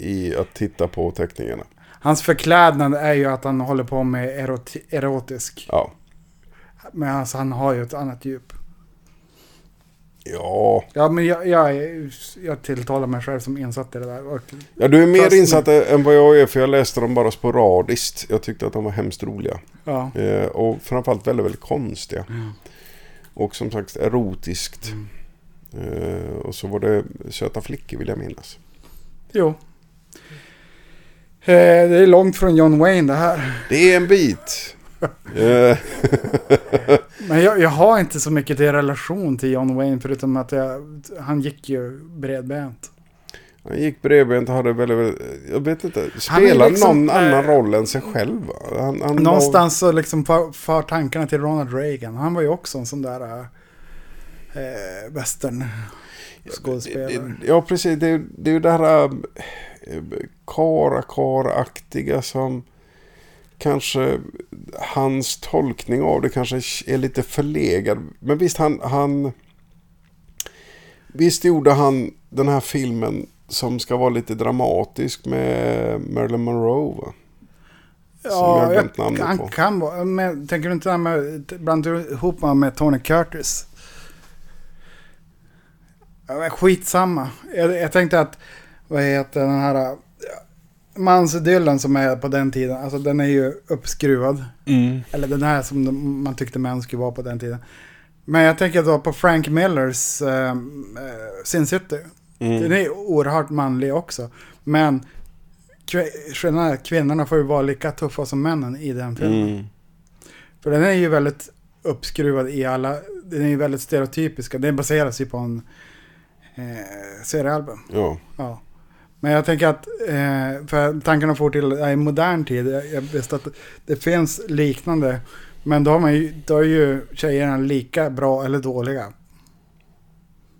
S2: i att titta på teckningarna.
S1: Hans förklädnad är ju att han håller på med eroti erotisk.
S2: Ja.
S1: Men alltså, han har ju ett annat djup.
S2: Ja.
S1: Ja, men jag, jag, jag tilltalar mig själv som insatt i det där. Och,
S2: ja, du är mer
S1: Fast-
S2: insatt än vad jag är för jag läste dem bara sporadiskt. Jag tyckte att de var hemskt roliga.
S1: ja.
S2: Eh, och framförallt väldigt, väldigt konstiga. Och som sagt erotiskt.
S1: Mm.
S2: Eh, och så var det söta flickor vill jag minnas.
S1: Jo. Eh, det är långt från John Wayne det här.
S2: Det är
S1: [laughs]
S2: en bit. Eh, [laughs]
S1: Men jag, jag har inte så mycket i relation till John Wayne förutom att jag, han gick ju bredbent.
S2: Han gick bredbent och hade väldigt, väldigt jag vet inte,
S1: Han är
S2: spelar
S1: liksom,
S2: någon
S1: eh,
S2: annan roll än sig själv? va? Han, han
S1: Någonstans så liksom för, för tankarna till Ronald Reagan. Han var ju också en sån där eh, western
S2: Var,
S1: skådespelare.
S2: ja, precis. Det, är- det är ju det här eh, karakar-aktiga som kanske hans tolkning av det kanske är lite förlegad. Men visst, han, han Visst gjorde han den här filmen som ska vara lite dramatisk med Marilyn Monroe? Va? jag har glömt namnet
S1: han
S2: på.
S1: kan vara, men tänker du inte han med, blandar du ihop honom med Tony Curtis? Ja, men skitsamma. Jag, jag tänkte att, vad heter den här, ja, mansdyllen som är på den tiden, alltså den är ju uppskruvad.
S2: Mm.
S1: Eller den här som de- man tyckte män skulle vara på den tiden. Men jag tänker då på Frank Millers eh, eh, Sin City. Den är oerhört manlig också. Men kvi- skillnaden är att kvinnorna får ju vara lika tuffa som männen i den
S2: Mm.
S1: filmen. För den är ju väldigt uppskruvad i alla, den är ju väldigt stereotypiska. Den baseras ju på en eh, seriealbum.
S2: Ja.
S1: Ja. Men jag tänker att, eh, för tankarna får till ja, i modern tid, jag, jag visste att det finns liknande, men då, har man ju, då är ju tjejerna lika bra eller dåliga.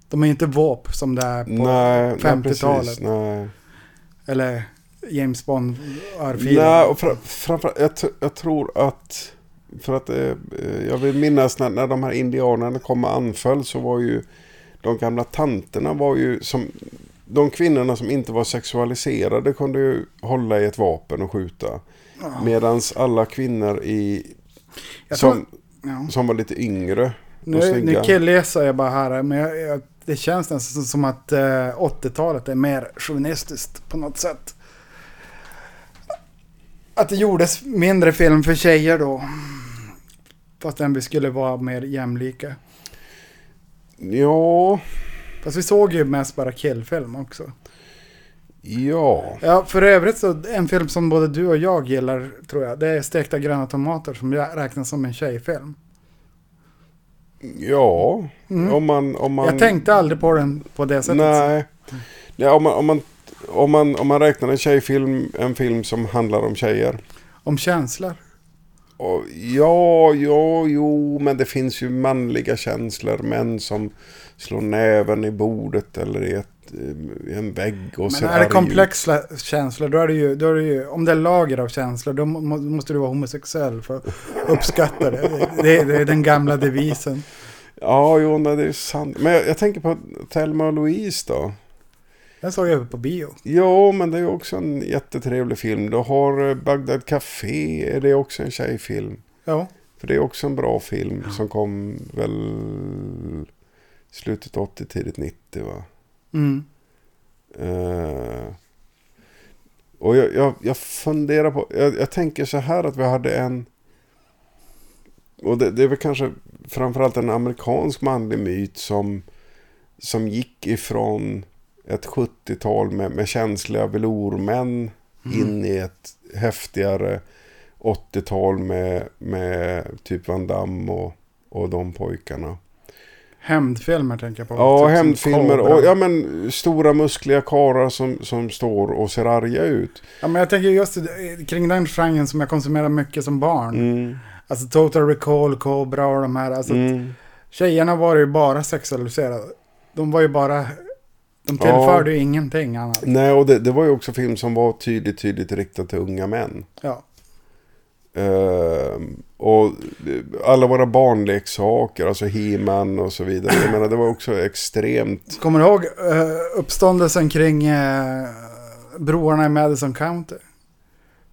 S1: De är inte våp som det är på
S2: nej,
S1: 50-talet.
S2: Nej, precis, nej.
S1: eller James Bond örfilen.
S2: nej och fra, framförallt, jag, tr- jag tror att... För att eh, eh, jag vill minnas när, när de här indianerna kom och anföll så var ju de gamla tanterna var ju som... De kvinnorna som inte var sexualiserade kunde ju hålla i ett vapen och skjuta. Medan alla kvinnor i...
S1: Ah. Jag tror-
S2: Som,
S1: ja.
S2: som var lite yngre och
S1: Nu, nu
S2: snygga.
S1: killgissar jag bara här, men jag, jag, det känns nästan som att eh, 80-talet är mer chauvinistiskt på något sätt. Att det gjordes mindre film för tjejer då. Fast vi skulle vara mer jämlika.
S2: Ja,
S1: Fast vi såg ju mest bara killfilm också.
S2: ja.
S1: Ja, för övrigt så en film som både du och jag gillar tror jag. Det är Stekta gröna tomater som jag räknas som en tjejfilm.
S2: Ja, om man... Om man
S1: Mm. Jag tänkte aldrig på den på det sättet.
S2: Nej. Ja, om, man, om, man, om, man, om man räknar en tjejfilm, en film som handlar om tjejer.
S1: Om känslor.
S2: Och, ja, ja, jo, men det finns ju manliga känslor. Män som slår näven i bordet eller i, ett, eh, i en vägg och
S1: Men
S2: ser
S1: är
S2: arg
S1: det
S2: ut.
S1: komplexa känslor, då är det, ju, då är det ju, om det är lager av känslor, då må, måste du vara homosexuell för att uppskatta det. Det, det är den gamla devisen.
S2: Ja, jo, nej, det är sant. Men jag, jag tänker på Thelma och Louise då.
S1: Den såg jag på bio.
S2: Ja, men det är ju också en jättetrevlig film. Du har eh, Bagdad Café, är det också en tjejfilm?
S1: Ja,
S2: För det är också en bra film som kom väl slutet 80, tidigt 90 va?
S1: mm.
S2: Eh, och jag, jag, jag funderar på, jag, jag tänker så här att vi hade en Och det, det är väl kanske framförallt en amerikansk manlig myt som, som gick ifrån ett 70-tal med, med känsliga velourmän in i ett häftigare 80-tal med, med typ Van Damme och, och de pojkarna.
S1: Hämndfilmer tänker jag på.
S2: Ja,
S1: Typ som
S2: hämndfilmer
S1: Cobra.
S2: och ja, men, stora muskliga karar som, som står och ser arga ut.
S1: Ja, men jag tänker just eh, kring den genren som jag konsumerade mycket som barn.
S2: Mm.
S1: Alltså Total Recall, Cobra och de här. Alltså, att
S2: Mm.
S1: Tjejerna var ju bara sexualiserade. De var ju bara... De
S2: Ja.
S1: tillförde ju ingenting annat.
S2: Nej, och det, det var ju också film som var tydligt, tydligt riktad till unga män.
S1: Ja.
S2: Eh, och alla våra barnleksaker, alltså He-Man och så vidare. Jag menar, det var också extremt.
S1: Kommer du ihåg eh, uppståndelsen kring eh, broarna i Madison County?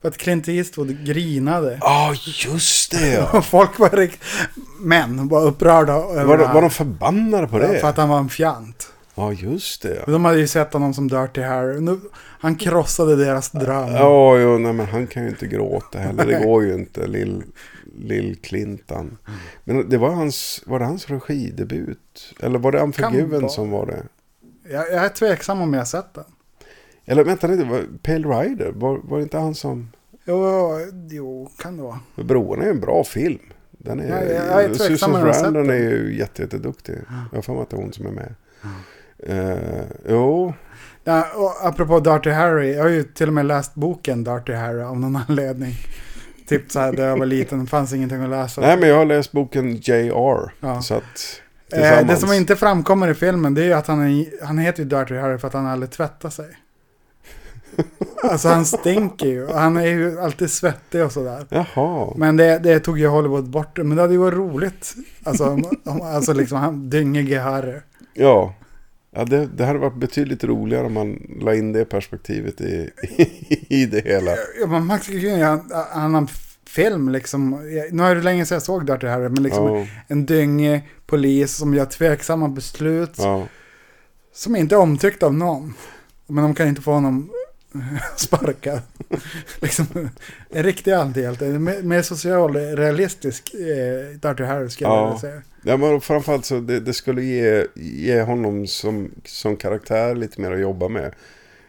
S1: För att Clint Eastwood grinade. [laughs]
S2: Ja, just det! ja.
S1: Och folk var rikt... Män var upprörda. över
S2: Var, de-
S1: det här.
S2: var de förbannade på det?
S1: För
S2: Ja,
S1: att han var en fjant.
S2: just det. ja.
S1: De hade ju sett honom som Dirty Harry. Nu, han krossade deras dröm.
S2: Ja, ja nej, men han kan ju inte gråta heller. Det går ju inte, lill, lill Clintan. Men det var hans, var det hans regidebut? Eller var det
S1: vara.
S2: Unforgiven som var det?
S1: Jag, jag är tveksam om jag har sett den.
S2: Eller vänta lite, var, Pale Rider, var, var det inte han som...
S1: Jo, jo kan det vara.
S2: Broarna är ju en bra film. Den är,
S1: Ja, jag är tveksam om
S2: Susan
S1: jag har sett
S2: Sarandon är
S1: den.
S2: ju jätte, jätteduktig. Jag har för mig att det är hon som är med. Eh, jo,
S1: Ja, och apropå Dirty Harry, jag har ju till och med läst boken Dirty Harry av någon [laughs] anledning. typ så här där jag var liten, det fanns ingenting att läsa.
S2: nej men jag har läst boken J.R.
S1: Ja.
S2: Så att
S1: eh,
S2: tillsammans.
S1: det som inte framkommer i filmen det är ju att han, är, han heter ju Dirty Harry för att han aldrig tvättar
S2: [laughs]
S1: sig. alltså han stinker ju, och han är ju alltid svettig och sådär.
S2: Jaha.
S1: Men det, det tog ju Hollywood bort, men det hade ju varit roligt. Alltså, om, om, alltså liksom han dyngige Harry.
S2: Ja. Ja, det, det hade varit betydligt roligare om man la in det perspektivet i, [laughs] i det hela.
S1: Ja, men Max Green, han, han har en film liksom. Nu är det länge sedan jag såg Dirty Harry, men liksom
S2: Ja.
S1: en dyngig polis som gör tveksamma beslut.
S2: Ja.
S1: Som inte är omtyckt av någon. Men de kan inte få honom [laughs] sparkad. liksom, en riktig antihjälte. En Mer, mer socialrealistisk eh, Dirty Harry skulle jag
S2: Ja.
S1: vilja säga.
S2: Ja, men framförallt så det, det skulle ge, ge honom som, som karaktär lite mer att jobba med.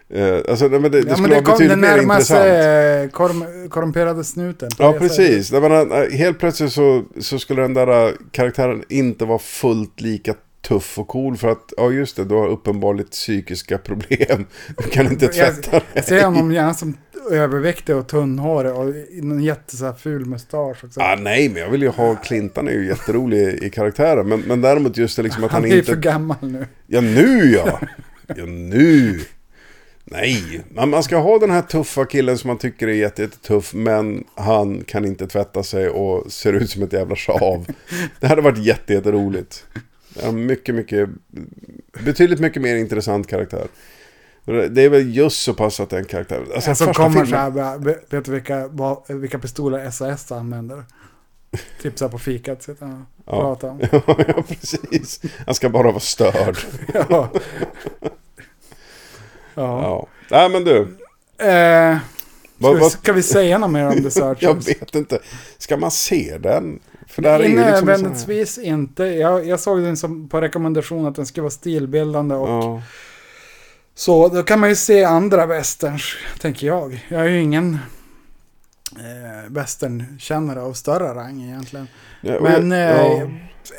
S2: Eh, alltså, nej, men det, det
S1: Ja, men
S2: skulle
S1: det
S2: vara
S1: kom den
S2: betydligt mer
S1: närmaste
S2: intressant.
S1: eh, korrum, korrumperade snuten. på
S2: Ja,
S1: det sättet.
S2: precis. Jag menar, helt plötsligt så, så skulle den där eh, karaktären inte vara fullt lika tuff och cool för att, ja just det, du har uppenbarligen psykiska problem. Du kan inte tvätta
S1: Jag ser honom gärna som överviktig och tunnhårig och en jätte så här ful mustasch också.
S2: Ah, nej, men jag vill ju ha Clintan är ju jätterolig i karaktären. Men, men däremot just det liksom att han,
S1: han är ju
S2: inte...
S1: för gammal nu.
S2: Ja, nu ja! Ja, nu! Nej, man, man ska ha den här tuffa killen som man tycker är jätte, jättetuff, men han kan inte tvätta sig och ser ut som ett jävla sjav. Det hade varit jätte, jätteroligt. Ja, mycket, mycket, betydligt mycket mer intressant karaktär. Det är väl just så pass att det är en karaktär. Alltså,
S1: Som
S2: första
S1: kommer
S2: filmen-
S1: så här, bara, "Vet- vet du vilka, va- vilka pistoler SAS använder? Typ så här på fikat sitter han och pratar om.
S2: [laughs] ja, precis. Han ska bara vara störd.
S1: Ja. ja.
S2: Ja. Nej, men du.
S1: Eh,
S2: Vad,
S1: ska, vi,
S2: vad,
S1: ska vi säga något mer om
S2: [laughs]
S1: The Searchers?
S2: jag vet inte. Ska man se den? För där är ju liksom en sån här-
S1: Invändigtvis inte. Jag, jag såg den som på rekommendation att den skulle vara stilbildande och
S2: Ja.
S1: Så då kan man ju se andra westerns, tänker jag. Jag är ju ingen eh, westernkännare av större rang egentligen.
S2: Ja, och
S1: Men
S2: jag-
S1: eh,
S2: ja.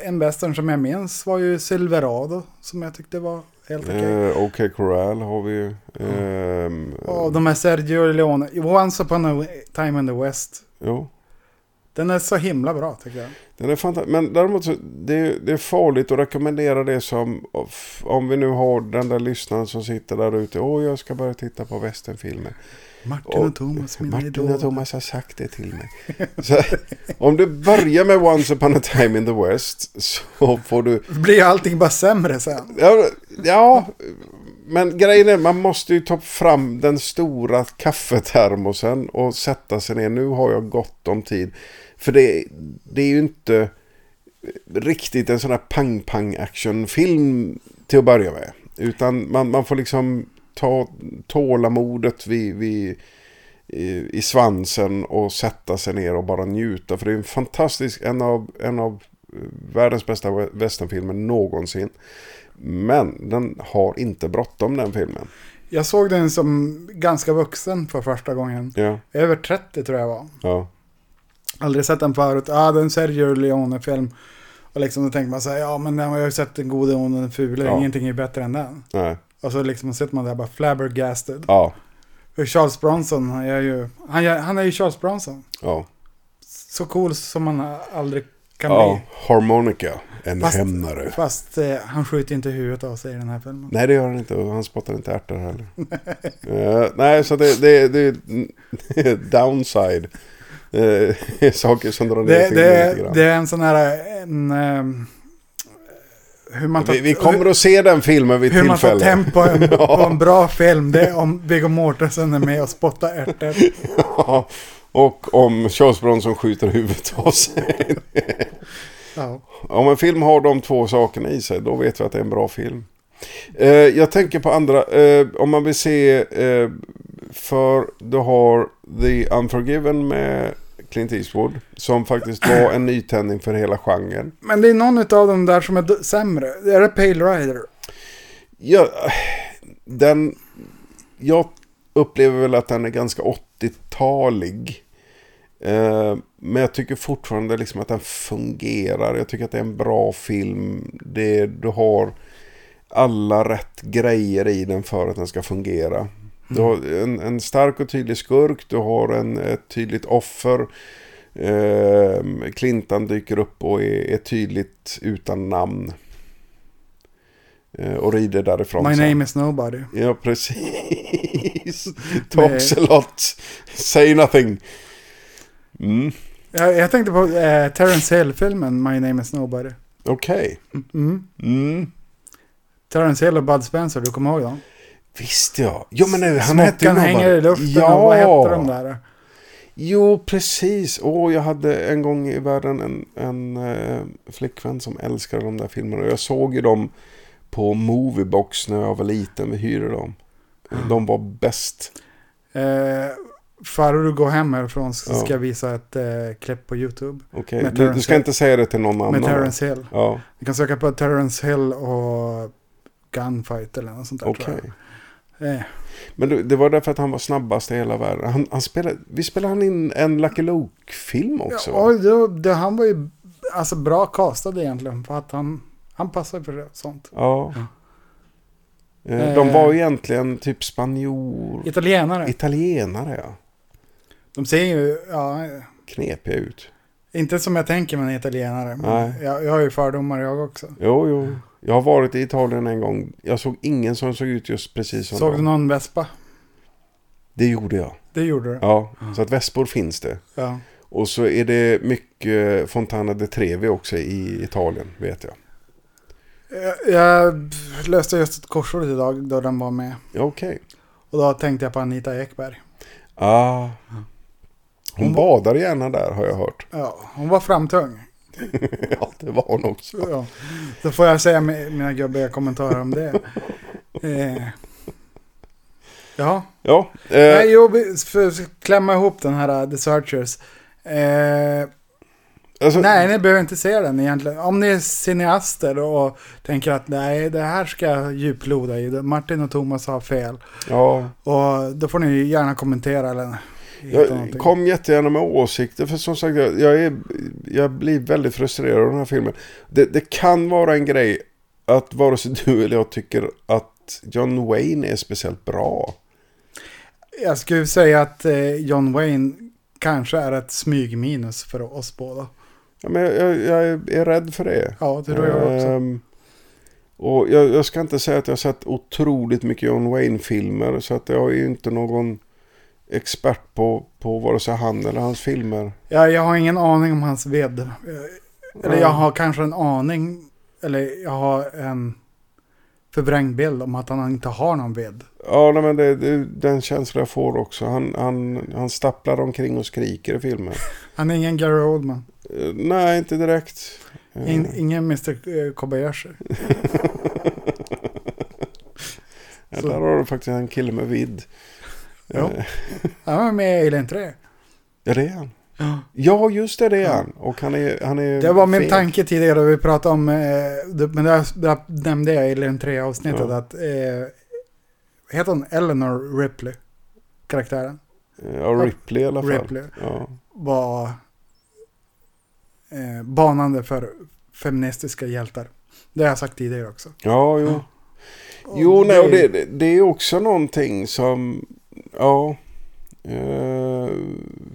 S1: en western som jag minns var ju Silverado, som jag tyckte var helt okej.
S2: Eh, Okej, Corral har vi ju. Ehm,
S1: Och de här Sergio Leone, Once upon a time in the West.
S2: Jo.
S1: Den är så himla bra tycker jag.
S2: Den är fantastisk. Men däremot så det, det är farligt att rekommendera det som om vi nu har den där lyssnaren som sitter där ute. Åh, jag ska börja titta på westernfilmer.
S1: Martin och Thomas, mina
S2: Martin och
S1: idoler.
S2: Thomas har sagt det till mig. Så, om du börjar med Once upon a time in the West så får du...
S1: Blir allting bara sämre sen?
S2: Ja, ja, men grejen är man måste ju ta fram den stora kaffetermosen och sätta sig ner. Nu har jag gott om tid. För det, det är ju inte riktigt en sån här pang-pang-actionfilm till att börja med. Utan man, man får liksom ta tålamodet vid, vid i, i svansen och sätta sig ner och bara njuta. För det är en fantastisk, en av, en av världens bästa westernfilmer någonsin. Men den har inte bråttom den filmen.
S1: Jag såg den som ganska vuxen för första gången.
S2: Ja,
S1: Över 30 tror jag var.
S2: ja.
S1: Aldrig sett den förut. Ja, ah, den Sergio Leone-film. Och liksom då tänker man så här, ja men den har jag ju sett den gode, onde, den fule.
S2: Ja.
S1: Ingenting är bättre än den.
S2: Nej.
S1: Och så liksom sitter man där bara flabbergasted.
S2: Ja,
S1: För Charles Bronson, han är ju, han är, han är ju Charles Bronson.
S2: ja.
S1: Så cool som man aldrig kan
S2: ja.
S1: bli.
S2: Harmonica, en
S1: Fast-
S2: hämnare.
S1: Fast eh, han skjuter inte huvudet av sig i den här filmen.
S2: Nej, det gör han inte. Och han spottar inte
S1: [laughs]
S2: ärtor heller. Eh, nej, så det, det, det är downside. Eh, [laughs] saker som drar ner
S1: Det,
S2: filmen lite
S1: det,
S2: grann.
S1: det är en sån här... En, ehm, hur man tar,
S2: vi, vi kommer att se den filmen vid
S1: hur, hur man tar
S2: tillfälle.
S1: tempo på
S2: Ja.
S1: en bra film. Det är om Viggo Mortensen är med och spottar ärtor.
S2: [laughs] Ja, och om Charles Bronson skjuter huvudet av sig.
S1: Ja.
S2: Om en film har de två sakerna i sig, då vet vi att det är en bra film. Eh, jag tänker på andra, eh, om man vill se, eh, för du har The Unforgiven med Clint Eastwood, som faktiskt var en nytändning för hela genren.
S1: Men det är någon av dem där som är d- sämre. Är det Pale Rider?
S2: Ja, den, jag upplever väl att den är ganska 80-talig. Eh, men jag tycker fortfarande liksom att den fungerar. Jag tycker att det är en bra film. Det, du har alla rätt grejer i den för att den ska fungera. Du
S1: Mm.
S2: har en, en stark och tydlig skurk, du har en, ett tydligt offer. Eh, Clintan dyker upp och är, är tydligt utan namn. Eh, och rider därifrån.
S1: My
S2: sen.
S1: name is nobody.
S2: Ja,
S1: [laughs]
S2: precis. Talks a lot. Say nothing. Mm,
S1: Jag, jag tänkte på eh, Terrence Hill-filmen My name is nobody.
S2: Okej.
S1: Mm.
S2: Mm.
S1: Terrence Hill och Bud Spencer, du kommer ihåg dem?
S2: Visst ja. Jo, men nu, han hette ju
S1: Smockan
S2: någon
S1: hänger
S2: bara-
S1: i luften
S2: ja.
S1: och vad heter de där?
S2: Jo, precis. Åh, jag hade en gång i världen en, en eh, flickvän som älskade de där filmerna. Och Jag såg ju dem på Moviebox när jag var liten. Vi hyrde dem. De var bäst.
S1: Eh, Farao, du går hem härifrån så
S2: Ja.
S1: ska jag visa ett eh, klipp på YouTube.
S2: Okej,
S1: Med
S2: du, du
S1: Terrence
S2: ska
S1: Hill.
S2: inte säga det till någon annan.
S1: Med
S2: va?
S1: Terrence Hill.
S2: Ja,
S1: Du kan söka på Terrence Hill och Gunfight eller något sånt där.
S2: okej.
S1: tror jag. Eh,
S2: Men det, det var därför att han var snabbast i hela världen. Han, han spelade, vi spelade han in en Lucky Luke-film också?
S1: ja,
S2: va?
S1: och då, det, han var ju alltså, bra castad egentligen för att han, han passar för det- sånt.
S2: Ja. Eh,
S1: Eh.
S2: De var egentligen typ spanjor...
S1: Italienare,
S2: Italienare, ja.
S1: de ser ju, ja,
S2: Knepiga ut.
S1: inte som jag tänker men italienare. Men
S2: Nej.
S1: jag, jag har ju fördomar jag också.
S2: Jo, jo. Jag har varit i Italien en gång. Jag såg ingen som såg ut just precis som
S1: Såg du
S2: dem.
S1: någon vespa?
S2: Det gjorde jag.
S1: Det gjorde du?
S2: Ja, så att vespor finns det.
S1: Ja.
S2: Och så är det mycket Fontana de Trevi också i Italien, vet jag.
S1: Jag, Eh, jag löste just ett korsord idag då den var med.
S2: Ja, Okej.
S1: Och då tänkte jag på Anita Ekberg.
S2: Ah. Hon badar gärna där, har jag hört.
S1: Ja, hon var framtung.
S2: [laughs] Ja, det var hon också.
S1: Ja. Då får jag säga mi- mina gubbiga kommentarer om det. Eh. Ja,
S2: Ja,
S1: Nej,
S2: eh,
S1: jo, vi- för att klämma ihop den här eh, The Searchers. Eh,
S2: alltså,
S1: nej, ni behöver inte se den egentligen. Om ni är cineaster och tänker att nej, det här ska jag djuploda i. Martin och Thomas har fel.
S2: ja,
S1: Och då får ni ju gärna kommentera eller hitta någonting.
S2: jag kom jättegärna med åsikter för som sagt, jag, jag, är, jag blir väldigt frustrerad av den här filmen. Det, det kan vara en grej att vare sig du eller jag tycker att John Wayne är speciellt bra.
S1: Jag skulle säga att eh, John Wayne kanske är ett smygminus för oss båda.
S2: Ja, men jag, jag, jag är, är rädd för det.
S1: Ja, det tror jag också.
S2: Ehm, och jag, jag ska inte säga att jag har sett otroligt mycket John Wayne-filmer så att jag är ju inte någon expert på, på vare sig han eller hans filmer.
S1: Jag, jag har ingen aning om hans ved. Eh, Eller jag har kanske en aning. Eller jag har en förvrängd bild om att han inte har någon ved.
S2: Ja, nej, men det, det, den känslan jag får också. Han, han, han stapplar omkring och skriker i filmen.
S1: Han är ingen Gary Oldman.
S2: Eh, nej, inte direkt. Eh,
S1: In, ingen Mr Kobayashi.
S2: där har du faktiskt en kille med vidd.
S1: Jo. Han var med i Alien 3.
S2: Ja, det är han. Ja, just det, det är han. Och han är, han är
S1: Det var min
S2: feg.
S1: tanke tidigare vi pratade om, eh, det- men där, där nämnde jag i Alien 3-avsnittet
S2: Ja.
S1: att, eh, heter hon Eleanor Ripley? Karaktären
S2: Eh, Ja, Ripley i alla fall.
S1: Ripley.
S2: Ja.
S1: var eh, banande för feministiska hjältar. Det har jag sagt tidigare också.
S2: Ja, jo. Jo,
S1: Och
S2: nej, och det, det- det är också någonting som... Ja. Eh,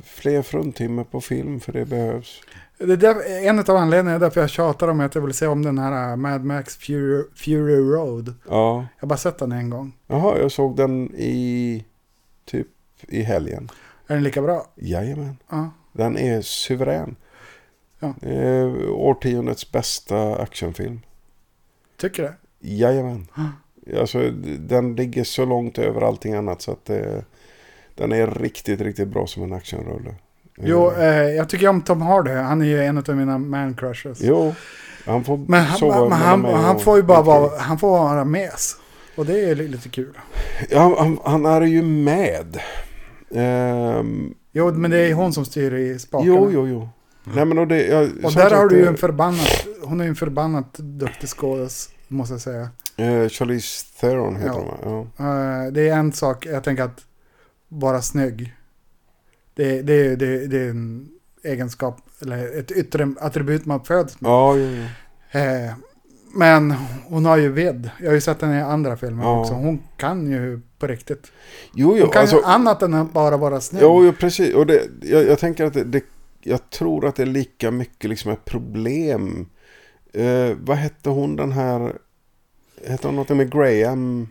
S2: fler fruntimmer på film, för det behövs.
S1: Det är där, en av anledningarna är därför jag tjatar om att jag vill se om den här eh, Mad Max Fury, Fury Road.
S2: Ja.
S1: Jag har bara sett den en gång.
S2: Jaha, jag såg den i... Typ i helgen.
S1: Är den lika bra?
S2: Jajamän.
S1: Ja.
S2: Den är suverän.
S1: Ja.
S2: Eh, årtiondets bästa actionfilm.
S1: Tycker det?
S2: Jajamän. Alltså, d- den ligger så långt över allting annat så att eh, den är riktigt, riktigt bra som en actionrulle.
S1: Jo,
S2: Eh,
S1: eh, jag tycker om Tom Hardy. Han är ju en av mina man crushes.
S2: jo, han får
S1: Men han,
S2: sova
S1: men
S2: mellan
S1: han,
S2: mig
S1: han
S2: och-
S1: får ju bara vara, han får vara mes. Och det är li- lite kul.
S2: Ja, han, han, han är ju med. Ehm,
S1: Jo, men det är hon som styr i spakarna.
S2: jo, jo, jo. Nej, men och det, jag,
S1: Och
S2: som
S1: där
S2: sagt,
S1: har du ju en
S2: eh,
S1: förbannat, hon är ju en förbannat duktig skådis, måste jag säga.
S2: eh, Charlize Theron heter
S1: Ja.
S2: hon, va? ja.
S1: Eh, det är en sak, jag tänker att vara snygg. Det, det, det, det är en egenskap, eller ett yttre attribut man föds med.
S2: Ja, jo, jo.
S1: Eh, men hon har ju vidd. Jag har ju sett henne i andra filmer
S2: Ja.
S1: också. Hon kan ju på riktigt.
S2: jo, jo
S1: Hon kan
S2: alltså-
S1: ju annat än att bara vara snygg.
S2: Jo, jo precis. Och det, jag, jag tänker att det, det, jag tror att det är lika mycket liksom ett problem. Eh, vad hette hon den här? Hette hon något med Graham?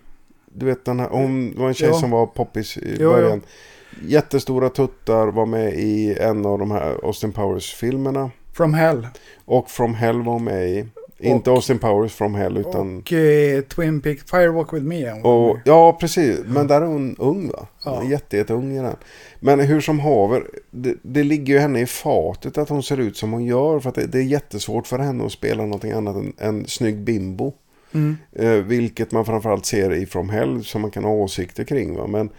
S2: Du vet den här, hon var en tjej
S1: Ja.
S2: som var poppis i
S1: Jo,
S2: början. Jättestora tuttar, var med i en av de här Austin Powers-filmerna.
S1: From Hell.
S2: Och From Hell var med i. Inte Austin Powers From Hell utan...
S1: Och eh, Twin Peaks, Firewalk with me. är hon.
S2: Och, ja, precis. Men där är hon ung va? Hon är jätte, jätteung i den. Men hur som haver, det, det ligger ju henne i fatet att hon ser ut som hon gör. För att det, det är jättesvårt för henne att spela någonting annat än, än snygg bimbo. Eh, vilket man framförallt ser i From Hell som man kan ha åsikter kring. Va? Men,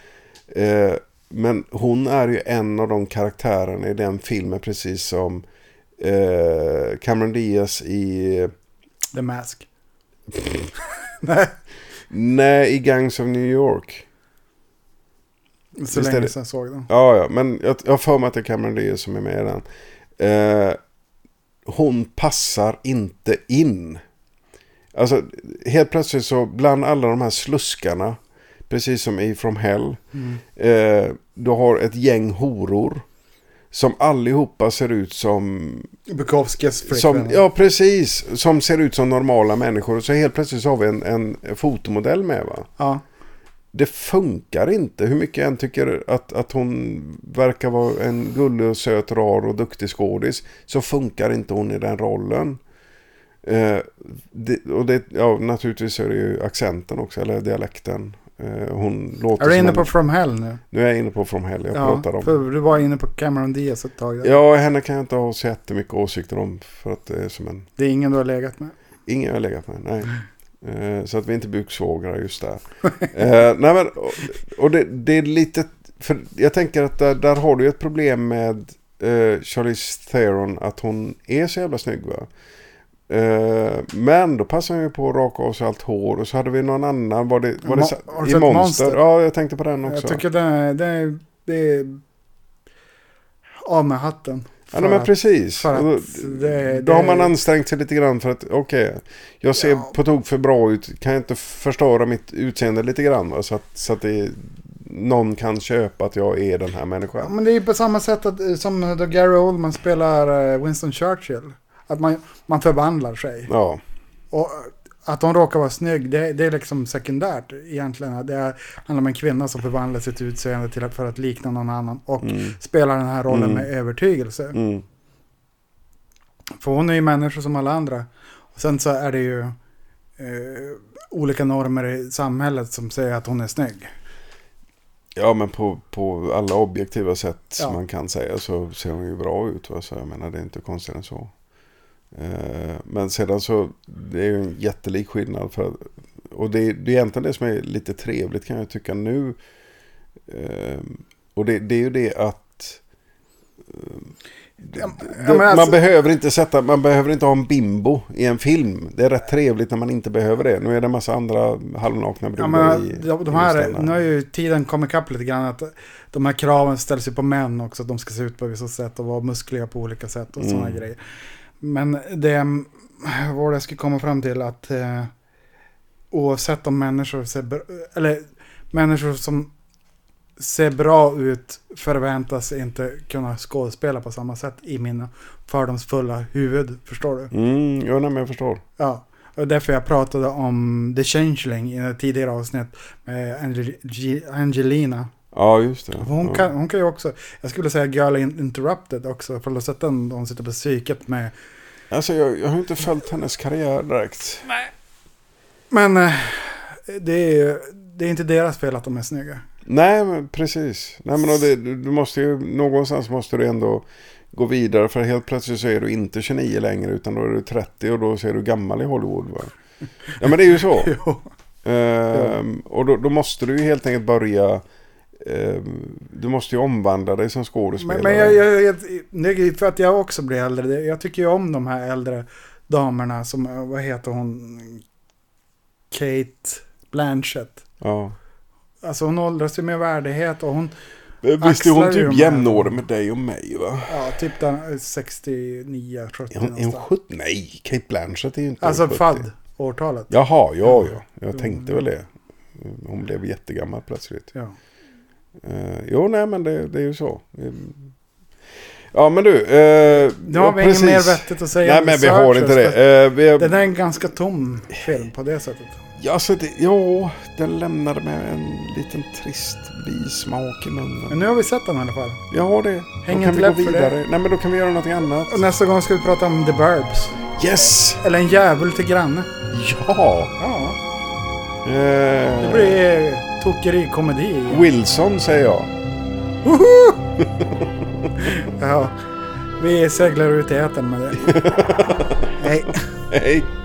S2: eh, men hon är ju en av de karaktärerna i den filmen precis som eh, Cameron Diaz i...
S1: The Mask. Nej,
S2: Nej, i Gangs of New York.
S1: så
S2: Visst är
S1: länge
S2: det-
S1: sedan jag såg den.
S2: Ja, ja, men jag jag har för mig att det är Cameron Diaz som är med i den. Eh, hon passar inte in. Alltså, helt plötsligt så bland alla de här sluskarna, precis som i From Hell, eh, du har ett gäng horor som allihopa ser ut som
S1: Bukowskis
S2: som,
S1: flickvän.
S2: ja, precis. Som ser ut som normala människor. Och så helt plötsligt så har vi en, en fotomodell med va?
S1: Ja.
S2: Det funkar inte. Hur mycket jag än tycker att, att hon verkar vara en gullig och söt, rar och duktig skådis. Så funkar inte hon i den rollen. Eh, det, och det, ja, naturligtvis är det ju accenten också, eller dialekten. Eh, hon låter
S1: Är du
S2: som
S1: inne
S2: en,
S1: på From Hell nu?
S2: Nu är jag inne på From Hell, jag pratar om.
S1: för du var inne på Cameron Diaz ett tag. Där.
S2: Ja, henne kan jag inte ha så jättemycket åsikter om. För att det är som en
S1: Det är ingen du har legat med.
S2: Ingen jag har legat med, nej. Eh, Så att vi inte är buksvågrar just där. [laughs] Eh, nej men, och- och det, det är lite, för jag tänker att där, där har du ju ett problem med eh, Charlize Theron, att hon är så jävla snygg va? Eh, men då passar hon ju på att raka av sig allt hår och så hade vi någon annan, var det, var det
S1: Mo-
S2: sa-
S1: har du
S2: i
S1: sett
S2: Monster?
S1: Monster?
S2: Ja, jag tänkte på den också.
S1: Jag tycker det är... Det är, det är av med hatten.
S2: Ja, nej, men
S1: att-
S2: precis.
S1: för att
S2: Och då,
S1: det-
S2: då har man
S1: det-
S2: ansträngt sig lite grann för att okej, jag ser på tok för bra ut. Kan jag inte förstöra mitt utseende lite grann? Va? Så att, så att det, någon kan köpa att jag är den här
S1: Ja,
S2: människan.
S1: men det är på samma sätt att, eh, som då Gary Oldman spelar eh, Winston Churchill. Att man, man förvandlar sig.
S2: Ja,
S1: Och eh, att hon råkar vara snygg, det, det är liksom sekundärt egentligen. Det är, handlar om en kvinna som förvandlar sitt utseende till att, för att likna någon annan och spelar den här rollen med övertygelse.
S2: mm,
S1: För hon är ju människa som alla andra. Och sen så är det ju eh, olika normer i samhället som säger att hon är snygg.
S2: ja men på, på alla objektiva sätt
S1: Ja.
S2: man kan säga så ser hon ju bra ut. Va? Så jag menar, det är inte konstigt än så. Eh, Men sedan så, det är ju en jättelik skillnad. För, och det, det är egentligen det som är lite trevligt kan jag tycka nu. Ehm, och det, det är ju det att
S1: Ja, men alltså-
S2: man behöver inte sätta, man behöver inte ha en bimbo i en film. Det är rätt trevligt när man inte behöver det. Nu är det en massa andra
S1: Ja,
S2: halvnakna brudar i
S1: men de,
S2: i
S1: de här,
S2: Stanna.
S1: nu har ju tiden kommit ikapp lite grann. Att de här kraven ställs ju på män också. Att de ska se ut på vissa sätt och vara muskliga på olika sätt och sådana grejer. Men det mm, vad jag skulle komma fram till att eh, oavsett om människor ser bra, eller människor som ser bra ut förväntas inte kunna skådespela på samma sätt i mina fördomsfulla huvud. Förstår du?
S2: Mm, ja, nej, men jag förstår.
S1: Ja, och därför jag pratade om The Changeling i ett tidigare avsnitt med Angel- G- Angelina.
S2: Ja, just det.
S1: Hon,
S2: ja.
S1: kan, hon kan ju också, jag skulle säga Girl in- Interrupted också, för du har sett den, hon sitter på psyket med.
S2: Alltså, jag, jag har ju inte
S1: Mm.
S2: följt hennes karriär direkt.
S1: Men eh, det är ju, det är inte deras fel att de är
S2: [laughs]
S1: snygga.
S2: Nej, men precis. Nej, men och det, du du måste ju, någonstans måste du ändå gå vidare. För helt plötsligt så är du inte 29 längre utan då är du 30 och då ser du gammal i Hollywood. Va? Ja, men det är
S1: [laughs]
S2: ju så.
S1: Jo.
S2: Ehm, och då, då måste du ju helt enkelt börja... ehm, du måste ju omvandla dig som skådespelare.
S1: Men, men jag, jag, jag, det är för att jag också blir äldre. Det- Jag tycker ju om de här äldre damerna som, eh, vad heter hon? Kate Blanchett.
S2: ja.
S1: Alltså hon åldras ju med värdighet och hon
S2: Men Visst är hon
S1: Axlar ju
S2: typ
S1: med-
S2: jämnårig med dig och mig va?
S1: Ja, typ den 69, 70
S2: Är hon, är hon
S1: någonstans.
S2: 70? Nej, Kate Blanchett är ju inte
S1: Alltså
S2: 70.
S1: fadd, årtalet.
S2: Jaha, ja, ja. Jag tänkte
S1: Mm.
S2: väl det. Hon blev jättegammal plötsligt.
S1: Ja.
S2: Eh, jo, nej, men det, det är ju så. Ehm. Ja, men du. Uh,
S1: Nu har vi inget mer vettigt att säga
S2: Nej,
S1: om
S2: men vi
S1: Searchers,
S2: har inte
S1: för
S2: det. Uh, vi,
S1: Den är en ganska tom film på det sättet.
S2: Ja, så det, ja, den lämnade med en liten trist bismak i
S1: Men
S2: munnen.
S1: nu har vi sett den i alla fall.
S2: Ja, det.
S1: Häng
S2: då kan
S1: inte
S2: vi gå
S1: läpp för det.
S2: vidare. Nej, men då kan vi göra någonting annat.
S1: Och nästa gång ska vi prata om The Burbs.
S2: Yes!
S1: Eller En djävul till granne.
S2: Ja!
S1: Ja,
S2: Eh,
S1: det blir eh, tokerikomedi. igen.
S2: Wilson säger jag.
S1: Woho!
S2: [laughs]
S1: ja, vi seglar ut i etern med det. Hej.
S2: Hej!